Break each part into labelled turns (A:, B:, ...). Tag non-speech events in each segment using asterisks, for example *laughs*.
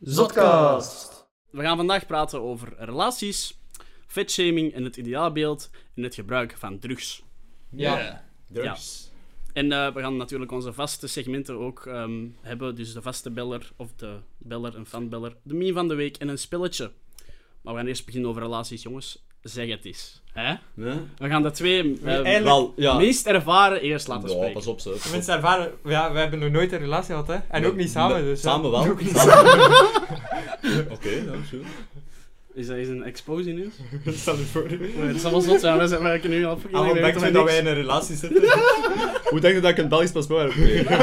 A: Zotcast.
B: We gaan vandaag praten over relaties, vetshaming en het ideaalbeeld en het gebruik van drugs.
A: Ja.
B: Drugs. En eh, we gaan natuurlijk onze vaste segmenten ook ehm, hebben. Dus de vaste beller of de beller, een fanbeller, de meme van de week en een spelletje. Maar we gaan eerst beginnen over relaties, jongens. Zeg het eens. Hè? We gaan de twee ehm,
C: Wel, ja.
B: meest ervaren eerst laten
C: Ja,
B: spreken.
C: pas op, ze. pas op.
D: Mensen ervaren, ja, we hebben nog nooit een relatie gehad, hè? En ook niet samen,
C: Nee,
D: dus. hè.
C: Samen wel.
D: Ook niet
C: Samen.
D: *laughs*
C: Oké, ja, zo.
B: Is dat is een explosie nu?
C: Stel je voor.
B: Nee, het zal wel zot zijn. We zijn- we kunnen nu al...
C: Waarom
B: we
C: denkt
B: weten
C: u dat
B: niks.
C: wij in een relatie zitten? *laughs* Hoe denk je dat ik een Belgisch paspoort heb gekregen?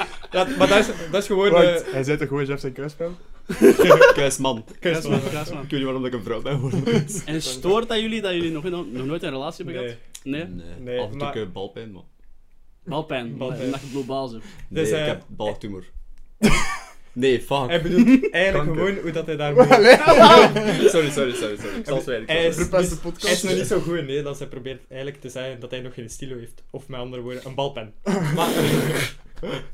D: *laughs* Ja, maar dat is, dat is gewoon. eh,
E: Hij zei toch gewoon Jeff zijn kruisspel?
C: *laughs* Kruisman.
B: Kruisman, kruisman.
C: *laughs* Ik weet niet waarom dat ik een vrouw ben geworden.
B: En stoort dat jullie dat jullie nog, nog nooit een relatie hebben
D: nee.
B: gehad? Nee?
D: Nee,
C: Af en toe
D: maar-
C: heb ik, eh, balpijn, man.
B: Balpijn.
D: Balpijn.
B: Omdat je blauw baas hebt.
C: Nee,
D: Dus,
C: ik
D: eh,
C: heb baltumor.
D: *laughs*
C: Nee, fuck. *laughs*
D: Hij bedoelt eigenlijk gewoon hoe dat hij daarmee.
C: Sorry, sorry, sorry. sorry. Ik zal zwijgen. ik zal
D: Hij
C: zwijgen.
D: is,
E: Verpest de
D: niet-
E: podcast.
D: hij is nog niet zo goed in Nederlands. Hij probeert eigenlijk te zeggen dat hij nog geen stilo heeft. Of met andere woorden, een
C: *laughs*
D: balpen. Maar,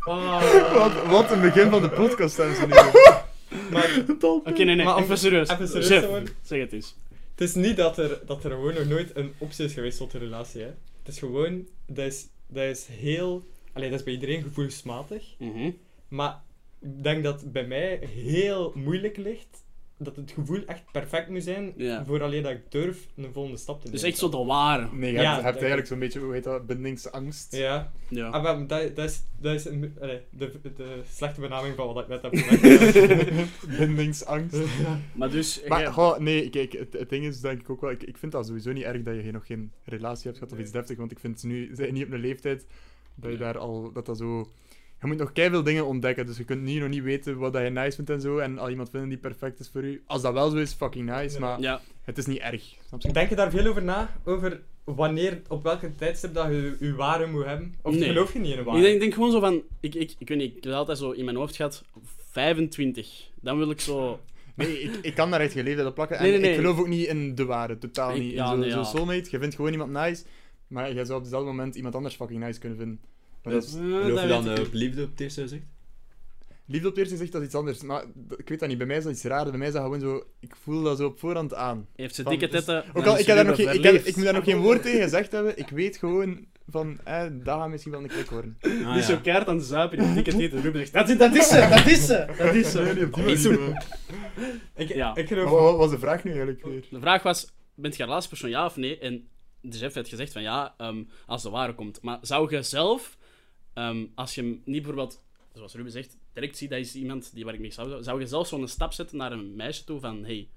D: Ah,
E: Wat, wat een begin van de podcast, dames en heren.
D: maar
B: Oké, nee, nee.
D: Maar om-
B: even serieus.
D: even serieus
B: Chef,
D: te worden.
B: zeg het eens.
D: het is niet dat er, dat er gewoon nog nooit een optie is geweest tot een relatie, hè? Het is gewoon. Dat is, dat is heel. Allee, dat is bij iedereen gevoelsmatig. Maar ik denk dat bij mij heel moeilijk ligt dat het gevoel echt perfect moet zijn
B: Ja.
D: voor alleen dat ik durf een volgende stap te nemen.
B: Dus echt zo de ware.
E: Nee, je
D: Ja,
E: hebt, je hebt
D: dat-
E: eigenlijk zo'n beetje, hoe heet dat, bindingsangst.
D: Ja,
B: Ja.
D: ah, maar dat, dat is, dat is een- allee, de, de slechte benaming van wat ik net
B: *laughs*
D: heb gezegd.
E: Bindingsangst.
B: Maar dus...
E: Maar
B: jij-
E: goh, nee, kijk, het, het ding is denk ik ook wel, ik, ik vind dat sowieso niet erg dat je geen- nog geen relatie hebt gehad of iets deftig, want ik vind ze nu, ze zijn niet op een leeftijd dat je daar al, dat dat zo... Je moet nog keihard dingen ontdekken, dus je kunt nu nog niet weten wat dat je nice vindt en zo, en al iemand vinden die perfect is voor u. Als dat wel zo is, fucking nice, maar
B: ja.
E: het is niet erg. Snap je?
D: Denk je daar veel over na? Over wanneer, op welke tijdstip dat je je ware moet hebben? Of
B: Nee.
D: geloof je niet in een ware?
B: Ik denk, denk gewoon zo van... Ik, ik, ik weet niet, ik heb altijd zo in mijn hoofd gehad... 25. Dan wil ik zo...
E: Nee, ik, ik kan daar echt geen leeftijd op plakken. En
B: Nee, nee, nee.
E: ik geloof ook niet in de ware, totaal
B: Ik-
E: niet. In
B: ja,
E: zo'n
B: nee,
E: zo'n
B: ja.
E: soulmate, je vindt gewoon iemand nice, maar jij zou op hetzelfde moment iemand anders fucking nice kunnen vinden. Maar dat is-
B: Eh,
C: Geloof je dan
B: dat weet
C: eh,
B: ik niet.
C: op liefde op het eerste gezicht?
E: Liefde op het eerste gezicht, dat is iets anders. Maar d- ik weet dat niet, bij mij is dat iets raar. Bij mij is dat gewoon zo, ik voel dat zo op voorhand aan.
B: Heeft ze
E: Van,
B: dikke
E: dus-
B: tetten...
E: Ook al,
B: dan is
E: ik,
B: ze
E: heb daar
B: weer
E: nog geen, ik, heb,
B: verliefd.
E: ik moet daar nog geen woord tegen gezegd hebben, ik weet gewoon van, eh, dat gaat misschien wel een klik
D: *laughs*
E: worden.
B: Die
C: Ah,
B: is zo keihard aan de zuipen in die *laughs* dikke teten. Ruben zegt, dat is, dat is ze, dat is ze, dat is
D: eh,
B: ze.
E: Niet zo.
D: Ik,
B: Ja.
D: ik
E: Maar
D: geloof...
E: Wat was de vraag nu eigenlijk weer?
B: De vraag was, bent je een relatiepersoon, ja of nee? En de chef heeft gezegd van ja, ehm, als de ware komt. Maar zou je zelf, ehm, als je hem niet bijvoorbeeld, zoals Ruben zegt, direct ziet dat is iemand die waar ik mee zou, zou je zelf zo'n stap zetten naar een meisje toe van hey,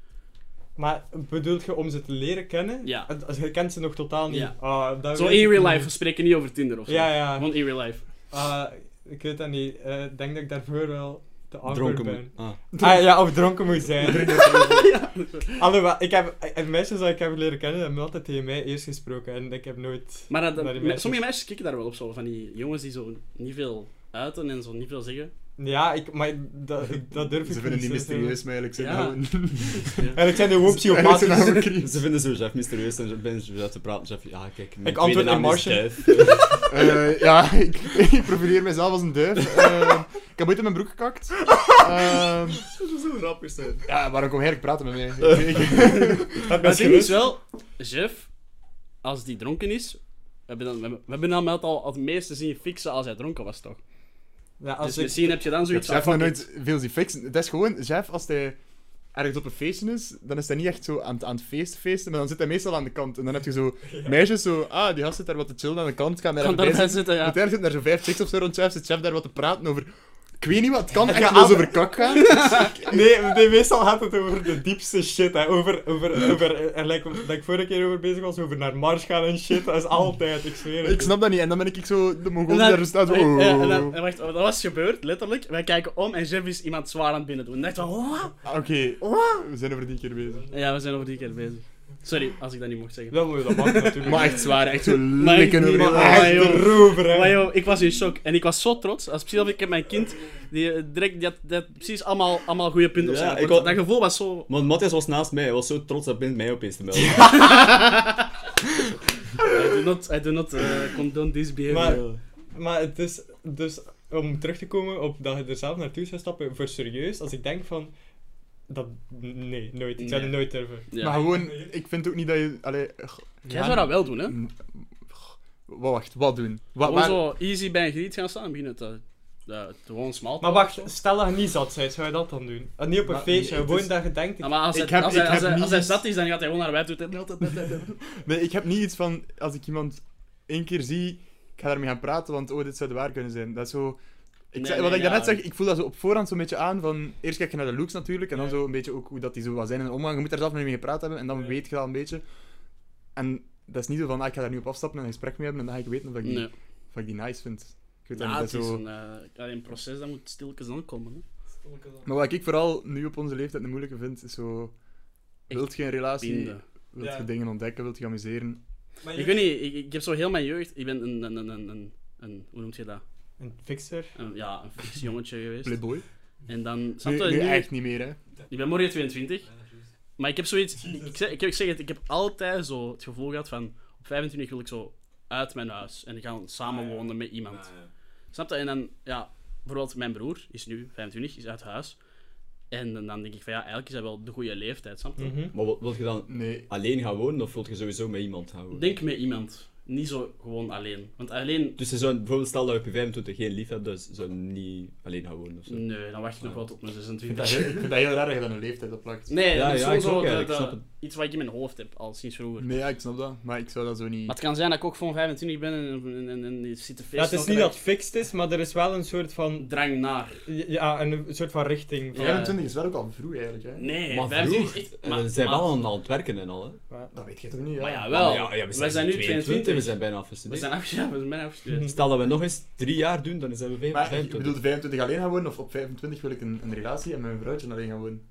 D: Maar bedoelt je om ze te leren kennen?
B: Ja.
D: Het- Je kent ze nog totaal niet.
B: Ja.
D: Ah, dat
B: zo
D: weet ik
B: in real
D: niet.
B: life, we spreken niet over Tinder of zo.
D: Ja, ja.
B: Gewoon in real
D: *laughs*
B: life.
D: Ah, ik weet dat niet. Eh, Ik denk dat ik daarvoor wel te awkward
C: Dronken
D: ben.
C: moet. Ah.
D: *laughs* Ah, ja, of dronken
C: *laughs*
D: moet zijn. Alhoewel, ik heb, eh, en meisjes dat ik heb leren kennen, hebben altijd tegen mij eerst gesproken. En ik heb nooit...
B: Maar dat,
D: Naar die
B: me-
D: meisjes.
B: sommige meisjes kikken daar wel op zo, van die jongens die zo niet veel uiten en zo niet veel zeggen.
D: Ja, ik, maar dat, ik- dat durf ik
E: Ze vinden die
D: zo te-
E: mysterieus, maar eigenlijk zijn
B: Ja.
E: nou een-
D: En ik zijn de
E: *laughs* eigenlijk zijn
D: gewoon psychopathisch.
E: nou een creep.
C: Ze vinden zo Jeff mysterieus en ze beginnen zo Jeff te praten. Jeff, ja, kijk, mijn
D: Ik antwoord
C: tweede
D: in
C: naam is
B: *laughs*
D: Martian.
C: Jeff.
E: Eh, ja, *laughs* ik, ik profileer mezelf als een duif. Eh, ik heb ooit in mijn broek gekakt. Ehm,
C: Zo grappig zijn.
E: ja, waarom kom je eigenlijk praten met mij? Ik- ik-
B: Maar het ding is wel, Jeff, als die dronken is, we hebben dan, we hebben- we hebben dan met al het meeste zien fixen als hij dronken was toch?
D: Ja, als
B: dus
D: ik...
B: misschien heb je dan zoiets
E: Jeff heeft nog nooit veel zien fixen. Het is gewoon, Jeff, als hij ergens op een feestje is, dan is hij niet echt zo aan, het- aan het feesten feesten, maar dan zit hij meestal aan de kant. En dan heb je zo meisjes zo, ah, die gast zit daar wat te chillen aan de kant, kan mij
B: Kan
E: daar
B: daarbij
E: zitten.
B: zitten, ja.
E: Uiteindelijk zitten er zo vijf chicks of zo rond Jeff, zit Jeff daar wat te praten over... Ik weet niet wat, het kan echt
D: gaat
E: wel eens
B: ah.
D: aan-
E: over kak gaan.
D: Nee, nee, meestal gaat het over de diepste shit. Hè. Over, over, over, en like, dat ik vorige keer over bezig was, over naar Mars gaan en shit. Dat is altijd, ik zweer het.
E: Ik snap dat niet. En dan ben ik zo de Mongool
B: En
E: die
B: dan-
E: daar staat. zo,
B: Oké, ja, en
E: oh.
B: dan- en wacht, dat was gebeurd, letterlijk. Wij kijken om en Jeff is iemand zwaar aan het binnen doen. En dacht van, "Wat?"
E: Ah, Oké, we zijn over die keer bezig.
B: Ja, we zijn over die keer bezig. Sorry, als ik dat niet mocht zeggen.
D: Dat moet je dat
E: *laughs*
D: maken natuurlijk.
E: Maar echt zwaar, echt zo
B: Maar echt
E: likken
B: niet,
E: over
B: maar echt
E: Ah, joh.
B: niet.
D: Erover, hè.
B: Maar joh, ik was in shock. En ik was zo trots. Als precies of ik heb mijn kind, die eh, direct, die had, die had precies allemaal, allemaal goede punten op
C: Ja,
B: zijn
C: ik
B: rapport.
C: wou-
B: Dat gevoel was zo...
C: Want Matthias was naast mij, hij was zo trots, hij begint mij opeens te melden.
B: I do not, I do not eh, condone this behavior.
D: Maar- maar het is dus om terug te komen op dat je er zelf naartoe zou stappen voor serieus. Als ik denk van dat nee, nooit. Ik zou
B: Nee.
D: het nooit durven.
B: Ja.
E: Maar gewoon, ik vind ook niet dat je... Allee, g-
B: Jij
E: ja,
B: zou dat wel doen, hè?
E: m- g- wa- Wacht, wat doen? Wat,
B: Gewoon
E: waar-
B: zo easy bij een griet gaan staan en beginnen te, eh, te, te gewoon smalt.
D: Maar wacht, stel dat je niet zat bent, zou je dat dan doen? Eh, niet op een
E: Maar
D: feestje,
E: nee, het
D: gewoon
E: is-
D: dat je denkt... ik-
B: Ja, maar als hij,
E: Ik heb-
B: als,
E: ik
B: hij, als,
E: heb
B: hij,
E: niet
B: als hij
E: iets-
B: zat is, dan gaat hij gewoon naar buiten toe.
E: Nee, ik heb niet iets van... Als ik iemand één keer zie, ik ga daarmee gaan praten, want oh, dit zou waar kunnen zijn. Dat is zo... Ik
B: Nee,
E: zei-
B: nee,
E: wat ik daarnet
B: ja.
E: zeg, ik voel dat zo op voorhand zo'n beetje aan van... Eerst kijk je naar de looks natuurlijk, en dan
D: Ja.
E: zo een beetje ook hoe dat die zo wat zijn in de omgang. Je moet daar zelf mee gepraat hebben, en dan
D: Ja.
E: weet je dat een beetje. En dat is niet zo van, ah, ik ga daar nu op afstappen en een gesprek mee hebben, en dan ga ik weten of ik die,
B: Nee.
E: of ik die nice vind. Ik weet dat
B: Ja,
E: niet, dat
B: het is
E: zo...
B: een, eh, ja, een proces dat moet stilkens aankomen. Hè.
E: Maar wat ik vooral nu op onze leeftijd een moeilijke vind, is zo...
B: Echt
E: Wilt je een relatie?
B: Binden.
E: Wilt
D: Ja.
E: je dingen ontdekken? Wilt je amuseren?
D: Maar
B: Ik weet niet, ik, ik heb zo heel mijn jeugd. Ik ben een, een, een, een, een, een- hoe noemt je dat?
D: Een fixer?
B: Een, ja, een fix jongetje geweest.
E: Playboy?
B: En dan, snap
E: Nu,
B: je,
E: nu
B: nu-
E: echt niet meer, hè.
B: ik ben morgen 22. Maar ik heb zoiets, ik zeg, ik, ik zeg het, ik heb altijd zo het gevoel gehad van, op 25 wil ik zo uit mijn huis en gaan samenwonen met iemand. Snap je? En dan, ja, bijvoorbeeld mijn broer is nu 25, is uit huis. En dan- dan denk ik van, ja, eigenlijk is dat wel de goede leeftijd, snap je?
D: Mhm.
A: Maar wat- wil je dan
E: Nee.
A: alleen gaan wonen of wil je sowieso met iemand gaan wonen?
B: Denk met iemand, niet zo gewoon alleen. Want alleen,
A: Dus je zou bijvoorbeeld stel dat je op je 25 geen lief hebt, dus zou je niet alleen gaan wonen of zo.
B: nee, dan wacht ik nog wel tot mijn
E: Ik vind dat
B: 26.
E: heel- ik vind dat heel raar dat je dan een leeftijd op plakt.
B: *laughs* Nee,
A: Ja,
B: dat is
A: ja,
B: gewoon
A: ik
B: zo
A: ook, ja,
B: de-
A: ik
B: de-
A: snap het.
B: iets wat ik in mijn hoofd heb, al sinds vroeger.
E: Nee, ja, ik snap dat. Maar ik zou dat zo niet...
B: Maar het kan zijn dat ik ook gewoon 25 ben en, en, en, en je zit te
D: Ja, het
B: feesten
D: is niet
B: elke
D: dat het fixed is, maar er is wel een soort
B: dag.
D: van...
B: Drang naar.
D: Ja, een soort van richting. Van,
B: Ja.
E: 25 is wel ook al vroeg, eigenlijk, hè.
B: Nee,
A: maar
B: 25
A: vroeg,
B: is echt-
A: eh, we zijn wel aan, aan het werken en al, hè.
E: Dat weet je toch niet, ja.
B: Maar ja, wel.
A: Maar ja, ja,
B: we zijn, nu 22.
A: we zijn bijna
B: We
A: afgestudeerd.
B: zijn af, ja, we zijn afgestudeerd.
A: *laughs* Stel dat we nog eens drie jaar doen, dan zijn we
E: Maar ik
A: 25.
E: bedoel, 25 alleen gaan wonen, of op 25 wil ik een, een relatie en met mijn vrouwtje alleen gaan wonen.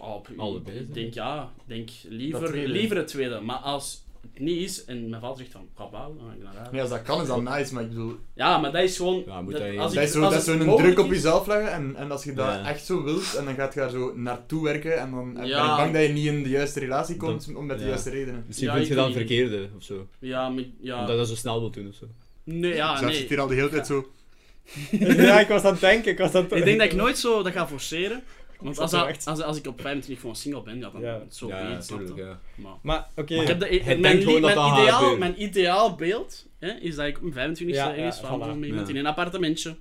B: Oh, ik-
A: Allebei,
B: Ik
A: hè.
B: denk ja, ik denk liever,
E: Dat tweede.
B: liever het tweede. Maar als het niet is en mijn vader zegt van ga bouwen, dan ga ik naar huis.
E: Nee, als dat kan, is dat nice, maar ik bedoel...
B: Ja, maar dat is gewoon.
A: Ja, moet
B: dat-
A: dat-
B: als
E: Dat
B: ik-
E: is zo-
B: als
E: dat is
B: het
E: zo'n
B: mogelijk
E: druk op
B: is-
E: jezelf leggen, en, en als je dat
A: Ja.
E: echt zo wilt, en dan gaat je daar zo naartoe werken, en dan eh, ben
B: Ja.
E: ik bang dat je niet in de juiste relatie komt,
A: Dan-
E: om met de
A: ja.
E: juiste redenen.
A: Misschien
B: Ja,
A: vind je
B: ik
A: dat een
B: weet niet.
A: verkeerde of zo.
B: Ja, maar, ja.
A: Omdat je dat zo snel wilt doen of zo.
B: Nee, ja,
E: Ze zit
B: Ah, nee.
E: hier al de hele tijd zo. *laughs*
D: ja, ik was aan het denken, ik was aan het
B: Ik denk dat ik nooit zo dat ga forceren. Want
D: zat
B: als,
D: er
B: dat-
D: echt.
B: als, als ik op 25 gewoon single ben, ja, dan
D: Ja.
B: zo
A: ja,
B: be it, snap je?
A: tuurlijk, ja.
B: Maar-
D: Maar, oké.
B: Ik heb de, ik-
A: Hij
B: mijn,
A: denkt gewoon
B: li-
A: dat
B: mijn
A: dat gaat
B: ideaal,
A: gebeuren.
B: mijn ideaal beeld hè, is dat ik op mijn 25
D: Ja,
B: ja, ergens
D: ja,
B: van
D: voilà.
B: met iemand
A: Ja.
B: in een appartementje.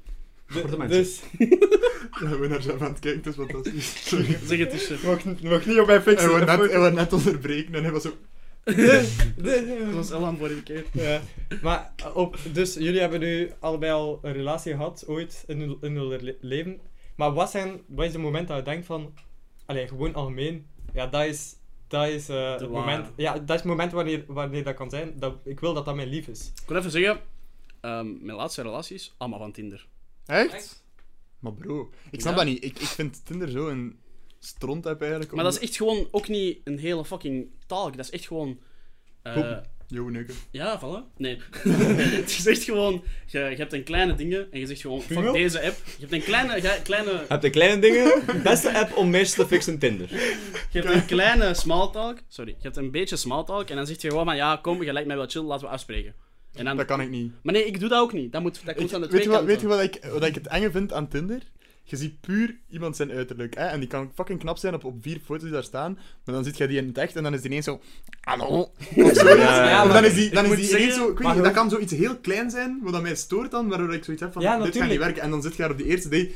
A: *laughs* Appartement.
D: dus,
E: Ja, we naar zelf aan het kijken, dat is *laughs* fantastisch.
B: *laughs* Zeg het eens. hè.
D: mocht, mocht niet op mijn
E: Hij
D: fixen.
E: wordt net,
D: dat moet-
E: hij wou net onderbreken en hij was zo...
D: dus-
B: Dat was al aan vorige keer.
D: Ja. Maar op, dus jullie hebben nu allebei al een relatie gehad, ooit, in hun, in hun le- leven. Maar wat, zijn, wat is het moment dat je denkt van... Allee, gewoon algemeen. Ja, dat is... Dat is, eh, het
B: ware.
D: moment, ja, dat is het moment wanneer, wanneer dat kan zijn. Dat, ik wil dat dat mijn lief is.
B: Ik wil even zeggen, ehm, mijn laatste relaties, allemaal van Tinder.
E: Echt? Maar bro, ik snap
B: Ja.
E: dat niet. Ik, ik vind Tinder zo een stront-app eigenlijk.
B: Maar dat is echt gewoon ook niet een hele fucking talk. Dat is echt gewoon... eh,
E: Poep. Yo, neuken.
B: ja, voilà. Nee. *laughs* het is echt gewoon... Je, je hebt een kleine dingen en je zegt gewoon, fuck
D: Pingel?
B: deze app. Je hebt een kleine... ga- kleine
A: Heb de kleine *laughs* dingen, beste app om mensen te fixen Tinder.
B: Je hebt een kleine small talk. Sorry, je hebt een beetje small talk. En dan zegt je gewoon van ja, kom, je lijkt mij wel chill, laten we afspreken. En dan,
E: Dat kan ik niet.
B: Maar nee, ik doe dat ook niet. Dat, moet, dat komt
E: Ik-
B: van de
E: weet,
B: twee
E: je wat, weet je
B: kanten.
E: wat ik, wat ik het enge vind aan Tinder? Je ziet puur iemand zijn uiterlijk. Hè? En die kan fucking knap zijn op, op vier foto's die daar staan. Maar dan zit je die in het echt en dan is die ineens zo... Hallo? Of zoiets.
A: ja,
E: Of
A: maar
E: dan is die, dan
B: ik
E: is
B: moet
E: die
B: zeggen-
E: ineens zo... Ik weet
D: maar
E: niet, dat
D: hoe-
E: kan zoiets heel klein zijn, wat dat mij stoort dan, waardoor ik zoiets heb van...
D: Ja,
E: dit gaat niet
D: natuurlijk.
E: werken. En dan zit je daar op die eerste date...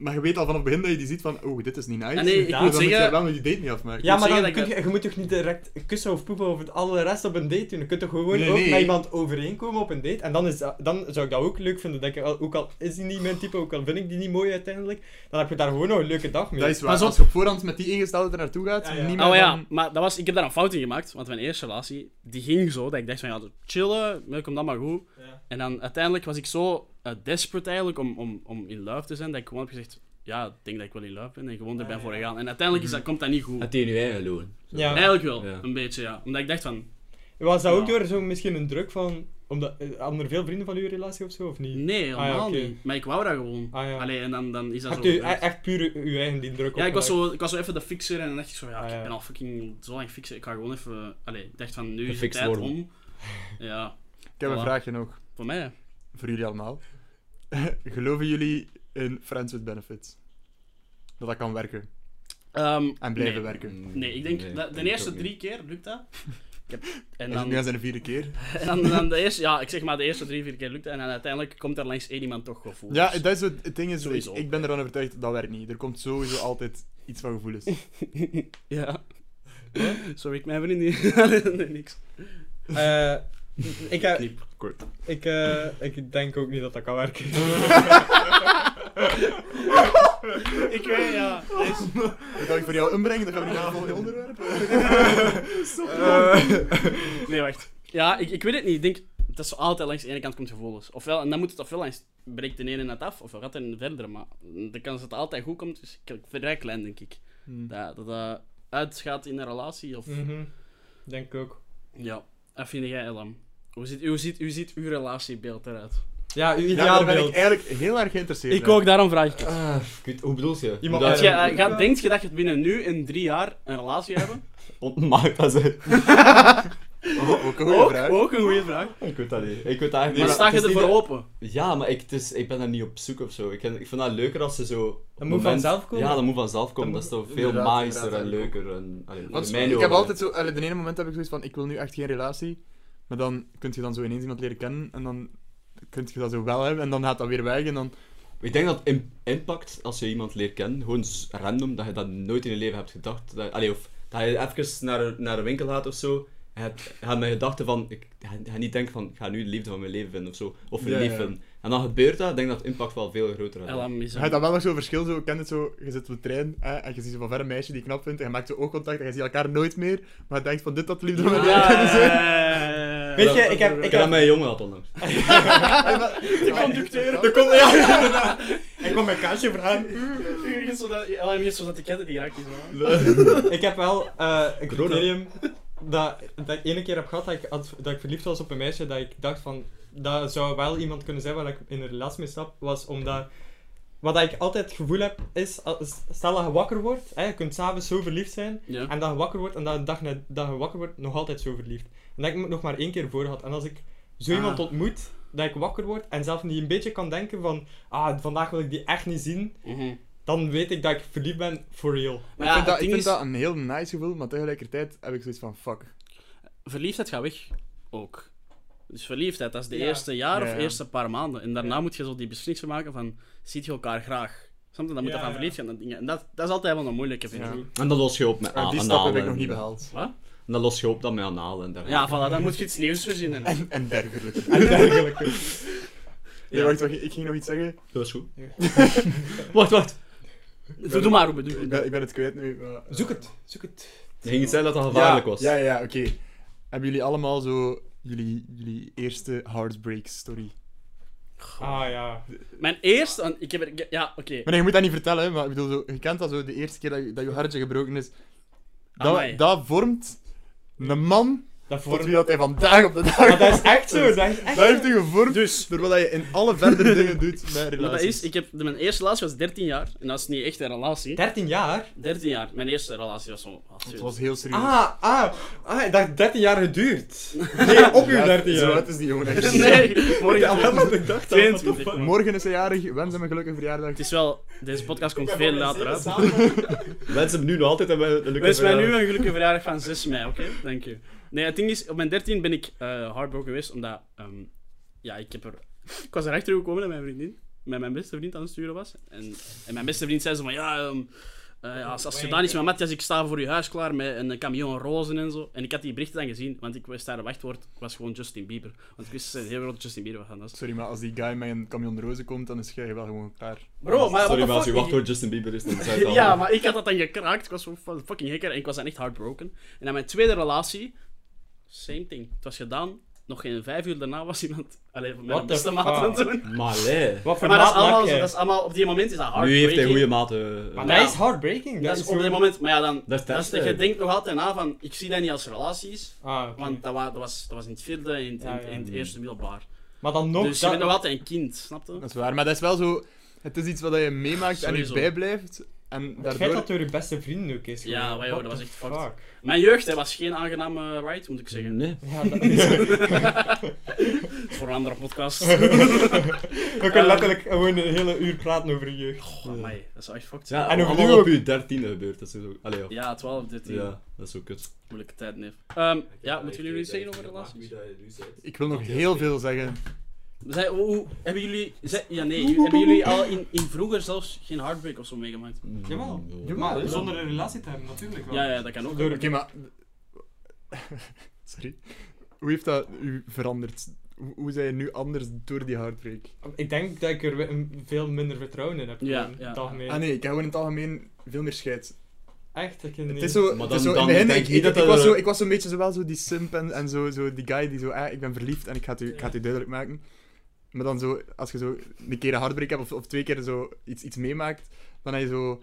E: Maar je weet al vanaf het begin dat je die ziet van... Oh, dit is niet nice.
B: Ah, nee, ik
E: En
B: moet
E: dan moet je
B: zeggen-
E: daar wel met die date niet afmaken.
D: Ja, maar
B: zeggen
D: dan
B: dat ik
D: kun je, je moet toch niet direct kussen of poepen over het alle rest op een date doen. Je kunt toch gewoon
E: Nee,
D: ook
E: nee.
D: met iemand overeenkomen op een date. En dan, is, dat- dan zou ik dat ook leuk vinden. Dat ik, al- ook al is die niet mijn type, ook al vind ik die niet mooi uiteindelijk, dan heb je daar gewoon nog een leuke dag mee.
E: Dat is waar.
B: Pas op.
E: Als je op voorhand met die ingesteldheid er naartoe gaat,
D: Ja, ja.
E: niet meer
B: Oh ja,
E: dan-
B: maar dat was, ik heb daar een fout in gemaakt. Want mijn eerste relatie, die ging zo. Dat ik dacht van ja, chillen, leuk om dat maar goed.
D: Ja.
B: En dan uiteindelijk was ik zo eh, desperate eigenlijk om, om, om in love te zijn. Dat ik gewoon heb gezegd, ja, ik denk dat ik wel in love ben. En gewoon erbij
D: Ah,
B: voor
D: ja.
B: gegaan. En uiteindelijk is dat, komt dat niet goed.
A: Had je nu eigen loon.
D: Ja.
B: Eigenlijk wel,
A: Ja.
B: een beetje ja. Omdat ik dacht van,
D: Was dat ook
B: Ja.
D: door zo misschien een druk van... Omdat, eh, hadden er veel vrienden van uw relatie of zo, of niet?
B: nee, helemaal
D: Ah, ja, oké.
B: niet. Maar ik wou dat gewoon.
D: Ah, ja.
B: Allee, en dan, dan is dat
D: Hebt
B: zo.
D: u e- echt puur u- uw eigen die druk
B: Ja, ik was,
D: opgelegd?
B: zo, ik was zo even de fixer en dan dacht ik zo, ja,
D: Ah,
B: ik
D: ja.
B: ben al fucking zo lang fixer. Ik ga gewoon even... Allee, ik dacht van, nu is de
A: Gefixt
B: tijd
A: worden.
B: om. Ja,
E: Ik heb een
B: Voilà.
E: vraagje nog. *laughs*
B: voor mij.
E: Voor jullie allemaal. *laughs* Geloven jullie in Friends with Benefits? Dat dat kan werken
B: Ehm,
E: en blijven
B: nee.
E: werken.
B: Nee, ik denk
A: Nee,
B: dat de
A: denk
B: eerste
A: ook niet.
B: drie keer lukt dat. Ik
E: *laughs*
B: heb, en
E: Is het
B: dan,
E: nu
B: *laughs*
E: aan zijn vierde keer?
B: en dan, dan de eerste, ja, ik zeg maar de eerste drie, vier keer lukt dat. En dan uiteindelijk komt er langs één iemand toch gevoel. Dus-
E: Ja, dat is het, het ding is, ik,
B: Sowieso.
E: ik ben ervan overtuigd, dat werkt niet. Er komt sowieso altijd iets van
B: *laughs*
E: gevoelens.
B: ja. *laughs* Sorry, ik mijn vriendin. *laughs* nee, niks.
D: Eh,
B: *laughs*
D: ik, eh,
B: Knip.
A: Kort.
D: ik, eh, ik denk ook niet dat dat kan werken.
B: Ik weet, ja.
E: Dat kan ik voor jou inbrengen, dan gaan we nu naar het volgende
B: *laughs*
E: onderwerp.
B: Nee, wacht. Ja, ik, ik weet het niet. Ik denk, dat is altijd langs de ene kant komt gevoelens. Ofwel, en dan moet het ofwel langs, breekt de ene net af, ofwel gaat het verder. Maar de kans dat het altijd goed komt, is k- vrij klein, denk ik. Dat dat dat uitgaat in een relatie, of...
D: Mhm. Denk ook.
B: Ja, dat vind jij, Elam. Hoe ziet, hoe, ziet, hoe ziet uw relatiebeeld eruit?
D: Ja, uw
E: Ja, daar ben
D: ideaalbeeld.
E: ik eigenlijk heel erg geïnteresseerd
B: Ik ook, daarom vraag ik het.
A: Ah, ik weet- hoe bedoel je?
D: Iemand-
A: Dat-
B: Als jij, eh, gaat- denkt je dat je het binnen nu en drie jaar een relatie hebben?
A: Ontmaakt dat ze.
E: Oh, ook een goede
B: Ook,
E: vraag.
B: ook een goede vraag.
A: Ik weet dat niet. Ik weet dat eigenlijk
B: Maar
A: niet.
B: sta je
A: het is niet
B: ervoor
A: dat-
B: open?
A: Ja, maar ik, het is, ik ben daar niet op zoek of zo. Ik, ken- ik vind dat leuker als ze zo.
D: Dat moet
A: moment-
D: vanzelf komen.
A: Ja, dat moet vanzelf komen. Dat is toch veel
E: Inderdaad,
A: maaister
E: inderdaad,
A: en
E: eigenlijk
A: leuker. En, allee,
E: Want
A: in mijn
E: ik heb
A: ogen.
E: altijd zo, allee, de ene moment heb ik zoiets van, ik wil nu echt geen relatie. Maar dan kun je dan zo ineens iemand leren kennen en dan kun je dat zo wel hebben en dan gaat dat weer weg en dan...
A: Ik denk dat im- impact, als je iemand leert kennen, gewoon z- random, dat je dat nooit in je leven hebt gedacht. Dat, allee, of dat je even naar, naar een winkel gaat of zo. Je hebt, je hebt mijn gedachten van, ik ga- ga niet denken van, ik ga nu de liefde van mijn leven vinden of zo. Of een
E: Ja,
A: lief
E: ja.
A: vinden. En dan gebeurt dat, ik denk dat het impact wel veel groter is.
B: Elam is
E: Je hebt
B: een...
E: dat wel nog zo'n verschil, zo, ik ken het zo, je zit op de trein hè, en je ziet zo van ver een meisje die je knap vindt en je maakt zo oogcontact en je ziet elkaar nooit meer, maar je denkt van dit dat *laughs* de liefde van mijn
B: *laughs*
E: leven kunnen zijn.
B: Ja.
D: Weet je, ik
A: Ik
D: heb... Ik
A: heb dat
D: heb
A: met een jongen had onlangs.
E: De conducteur.
D: er komt, ja, inderdaad. Ik kom mijn kaasje vragen.
B: Elam is zodat ik het die haakjes
D: Ik heb wel eh, een
A: Corona.
D: criterium dat, dat ik ene keer heb gehad dat ik, had- dat ik verliefd was op een meisje dat ik dacht van dat zou wel iemand kunnen zijn waar ik in een relatie mee stap was omdat wat ik altijd het gevoel heb is als, stel dat je wakker wordt hè, je kunt s'avonds zo verliefd zijn
B: Ja.
D: en dat je wakker wordt en dat de dag na- dat je wakker wordt nog altijd zo verliefd en dat ik me nog maar één keer voor had en als ik zo
B: Ah.
D: iemand ontmoet dat ik wakker word en zelf niet een beetje kan denken van ah vandaag wil ik die echt niet zien
B: Mhm.
D: dan weet ik dat ik verliefd ben
B: *laughs*
D: for real
B: Maar
E: ik
B: ja,
E: vind, dat,
B: het
E: ik
B: ding
E: vind
B: is,
E: dat een heel nice gevoel, maar tegelijkertijd heb ik zoiets van fuck.
B: verliefdheid gaat weg. Ook. Dus verliefdheid, dat is de
D: Ja.
B: eerste jaar
E: Ja,
B: of
E: ja.
B: eerste paar maanden. En daarna moet je zo die beslissing maken van, ziet je elkaar graag? Snap je? Dan moet
D: Ja,
B: je gaan
D: ja.
B: verliefd gaan. en dingen. En dat, dat is altijd wel een moeilijke, vind ik.
E: Ja.
A: En dat los je op met
E: En
A: a-
E: die stap
A: analen
E: heb ik nog
A: en-
E: niet behaald.
A: En dat los je op dan met analen en dergelijke.
B: Ja, voilà, dan moet je iets nieuws *laughs* verzinnen.
E: En, en dergelijke.
D: en dergelijke
E: Nee, wacht, wacht, ik ging nog iets zeggen.
A: Dat is goed. wacht, wacht.
B: Doe, doe maar, Ruben. doe-
E: Ik ben, ik ben het kwijt nu. maar, eh,
D: Zoek het, zoek het.
A: Je ging iets zeggen dat dat gevaarlijk
E: ja,
A: was.
E: Ja, ja, oké. Hebben jullie allemaal zo jullie, jullie eerste heartbreak story?
D: Ah ja.
B: Mijn eerste... want Ik heb er, ik- ja, oké.
E: Maar nee, je moet dat niet vertellen, hè, maar ik bedoel, zo, je kent dat zo, de eerste keer dat je, dat je hartje gebroken is.
B: Amai.
E: Dat, dat vormt een man
D: Dat
E: tot
D: vormt.
E: wie dat hij vandaag op de dag
D: Maar dat is Dus- echt zo, dat is echt
E: *laughs* Dat
D: zo.
E: heeft hij gevormd door wat je in alle
D: *laughs*
E: verdere dingen doet met relaties.
B: Wat dat is, ik heb, mijn eerste relatie was 13 jaar. En dat is niet echt een relatie.
D: 13 jaar?
B: 13 jaar. Mijn eerste relatie was zo...
E: Het was heel serieus.
D: Ah, ah, ah, ik dacht 13 jaar
B: *laughs*
D: geduurd. Nee, op uw
E: Ja,
D: 13
E: Zo
D: jaar.
E: uit is die jongen. echt.
B: *laughs* Nee, morgen
D: Ja, wat ik dacht.
B: 22.
E: Morgen is hij jarig, wens hem een gelukkige verjaardag.
B: Het is wel... Deze podcast komt veel later uit.
A: Mensen hem nu nog altijd hebben een
B: Wens mij Dus nu een gelukkige verjaardag van 6 mei, oké? Dank je. Nee, het ding is, op mijn 13 ben ik eh hardbroken geweest, omdat... ehm, ja, ik heb er... *laughs* Ik was erachter gekomen dat mijn vriendin met mijn beste vriend aan het sturen was. En, en mijn beste vriend zei zo van, ja, ehm, eh, ja, als, als je daar iets met Matthias, ik sta voor je huis klaar met een camion rozen en zo. En ik had die berichten dan gezien, want ik wist daar een wachtwoord, was gewoon Justin Bieber. Want ik wist dat ze een heel groot Justin Bieber was. Dat is-
E: Sorry, maar als die guy met een camion rozen komt, dan is jij wel gewoon klaar.
B: Bro, maar
A: Sorry,
B: what the
A: maar als je
B: fuck?
A: wacht door Justin Bieber is, dan
B: *laughs*
A: zei het al.
B: Ja, maar ik had dat dan gekraakt. Ik was zo fu- fucking gekker en ik was dan echt heartbroken. En aan mijn tweede relatie, same thing. Het was gedaan. Nog geen vijf uur daarna was iemand... Allee, met mijn
D: What the
B: beste maat aan het doen.
A: Maar lé.
D: Wat voor
B: Maar dat is,
D: maat maak
B: allemaal,
D: jij?
B: zo- dat is allemaal... Op die moment is dat
A: Nu
B: heartbreaking.
A: heeft hij goede maten. eh,
D: Maar
B: Ja.
D: dat is heartbreaking.
B: Dat is op dit moment... Maar ja, dan...
A: Dat is
B: Dat is,
A: testen.
B: je denkt nog altijd na van... Ik zie dat niet als relaties.
D: Ah, oké.
B: Want dat, wa- dat, was, dat was in het vierde en in het,
D: Ja, ja.
B: in het eerste middelbaar.
D: Maar dan nog.
B: dus je
D: dat-
E: *laughs*
B: bent nog altijd een kind, snap je?
E: Dat is waar, maar dat is wel zo... Het is iets wat je meemaakt en
B: Sowieso.
E: je bijblijft. En
D: Het feit
E: daardoor...
D: dat door je beste vrienden ook is.
B: Ja,
D: gewoon,
B: wij-
D: what
B: dat was
D: the
B: echt fucked.
D: fuck.
B: Mijn jeugd hè, was geen aangename ride, moet ik zeggen.
A: Nee.
D: Ja, dat is...
B: Dat is voor een andere podcast.
D: We
B: *laughs*
D: kunnen letterlijk gewoon een hele uur praten over je jeugd.
B: Goh, Oh, amai, dat is echt fucked.
A: Ja,
D: En
A: en
D: over
A: allemaal
D: nu
A: op
D: ook.
A: je dertiende gebeurt. Dat is ook... Allee, ja.
B: Ja, 12, 13.
A: Ja, dat is ook kut.
B: Moeilijke tijd, neef. Ehm, ja, moeten jullie iets zeggen over relaties?
E: Ik wil nog heel veel zeggen.
B: Zij, hoe- hoe- hebben jullie... zij- ja, nee. jullie- Hebben jullie al in, in vroeger zelfs geen heartbreak of zo meegemaakt?
D: Jawel.
A: Mm,
E: Jawel.
D: zonder een relatie te hebben, natuurlijk wel.
B: Ja, ja, dat kan ook.
E: Oké, maar... *laughs* Sorry. Hoe heeft dat u veranderd? Hoe- Hoe zijn je nu anders door die heartbreak?
D: Ik denk dat ik er we- een- veel minder vertrouwen in heb.
B: Ja,
D: gewoon,
B: ja.
D: het algemeen.
E: Ah nee, ik heb gewoon in het algemeen veel meer scheid.
D: Echt, ik niet.
E: Het is zo,
A: Maar
E: het is
A: dan-
E: zo in
A: dan
E: het begin,
A: denk
E: ik,
A: je niet
E: ik,
A: dat
E: ik
A: dat-
E: was zo, ik was een beetje zowel zo die simp en, en zo, zo die guy die zo, eh, ik ben verliefd en ik ga het, u, ik ga het u duidelijk maken. Maar dan zo, als je zo een keer een heartbreak hebt of, of twee keer zo iets, iets meemaakt, dan heb je zo,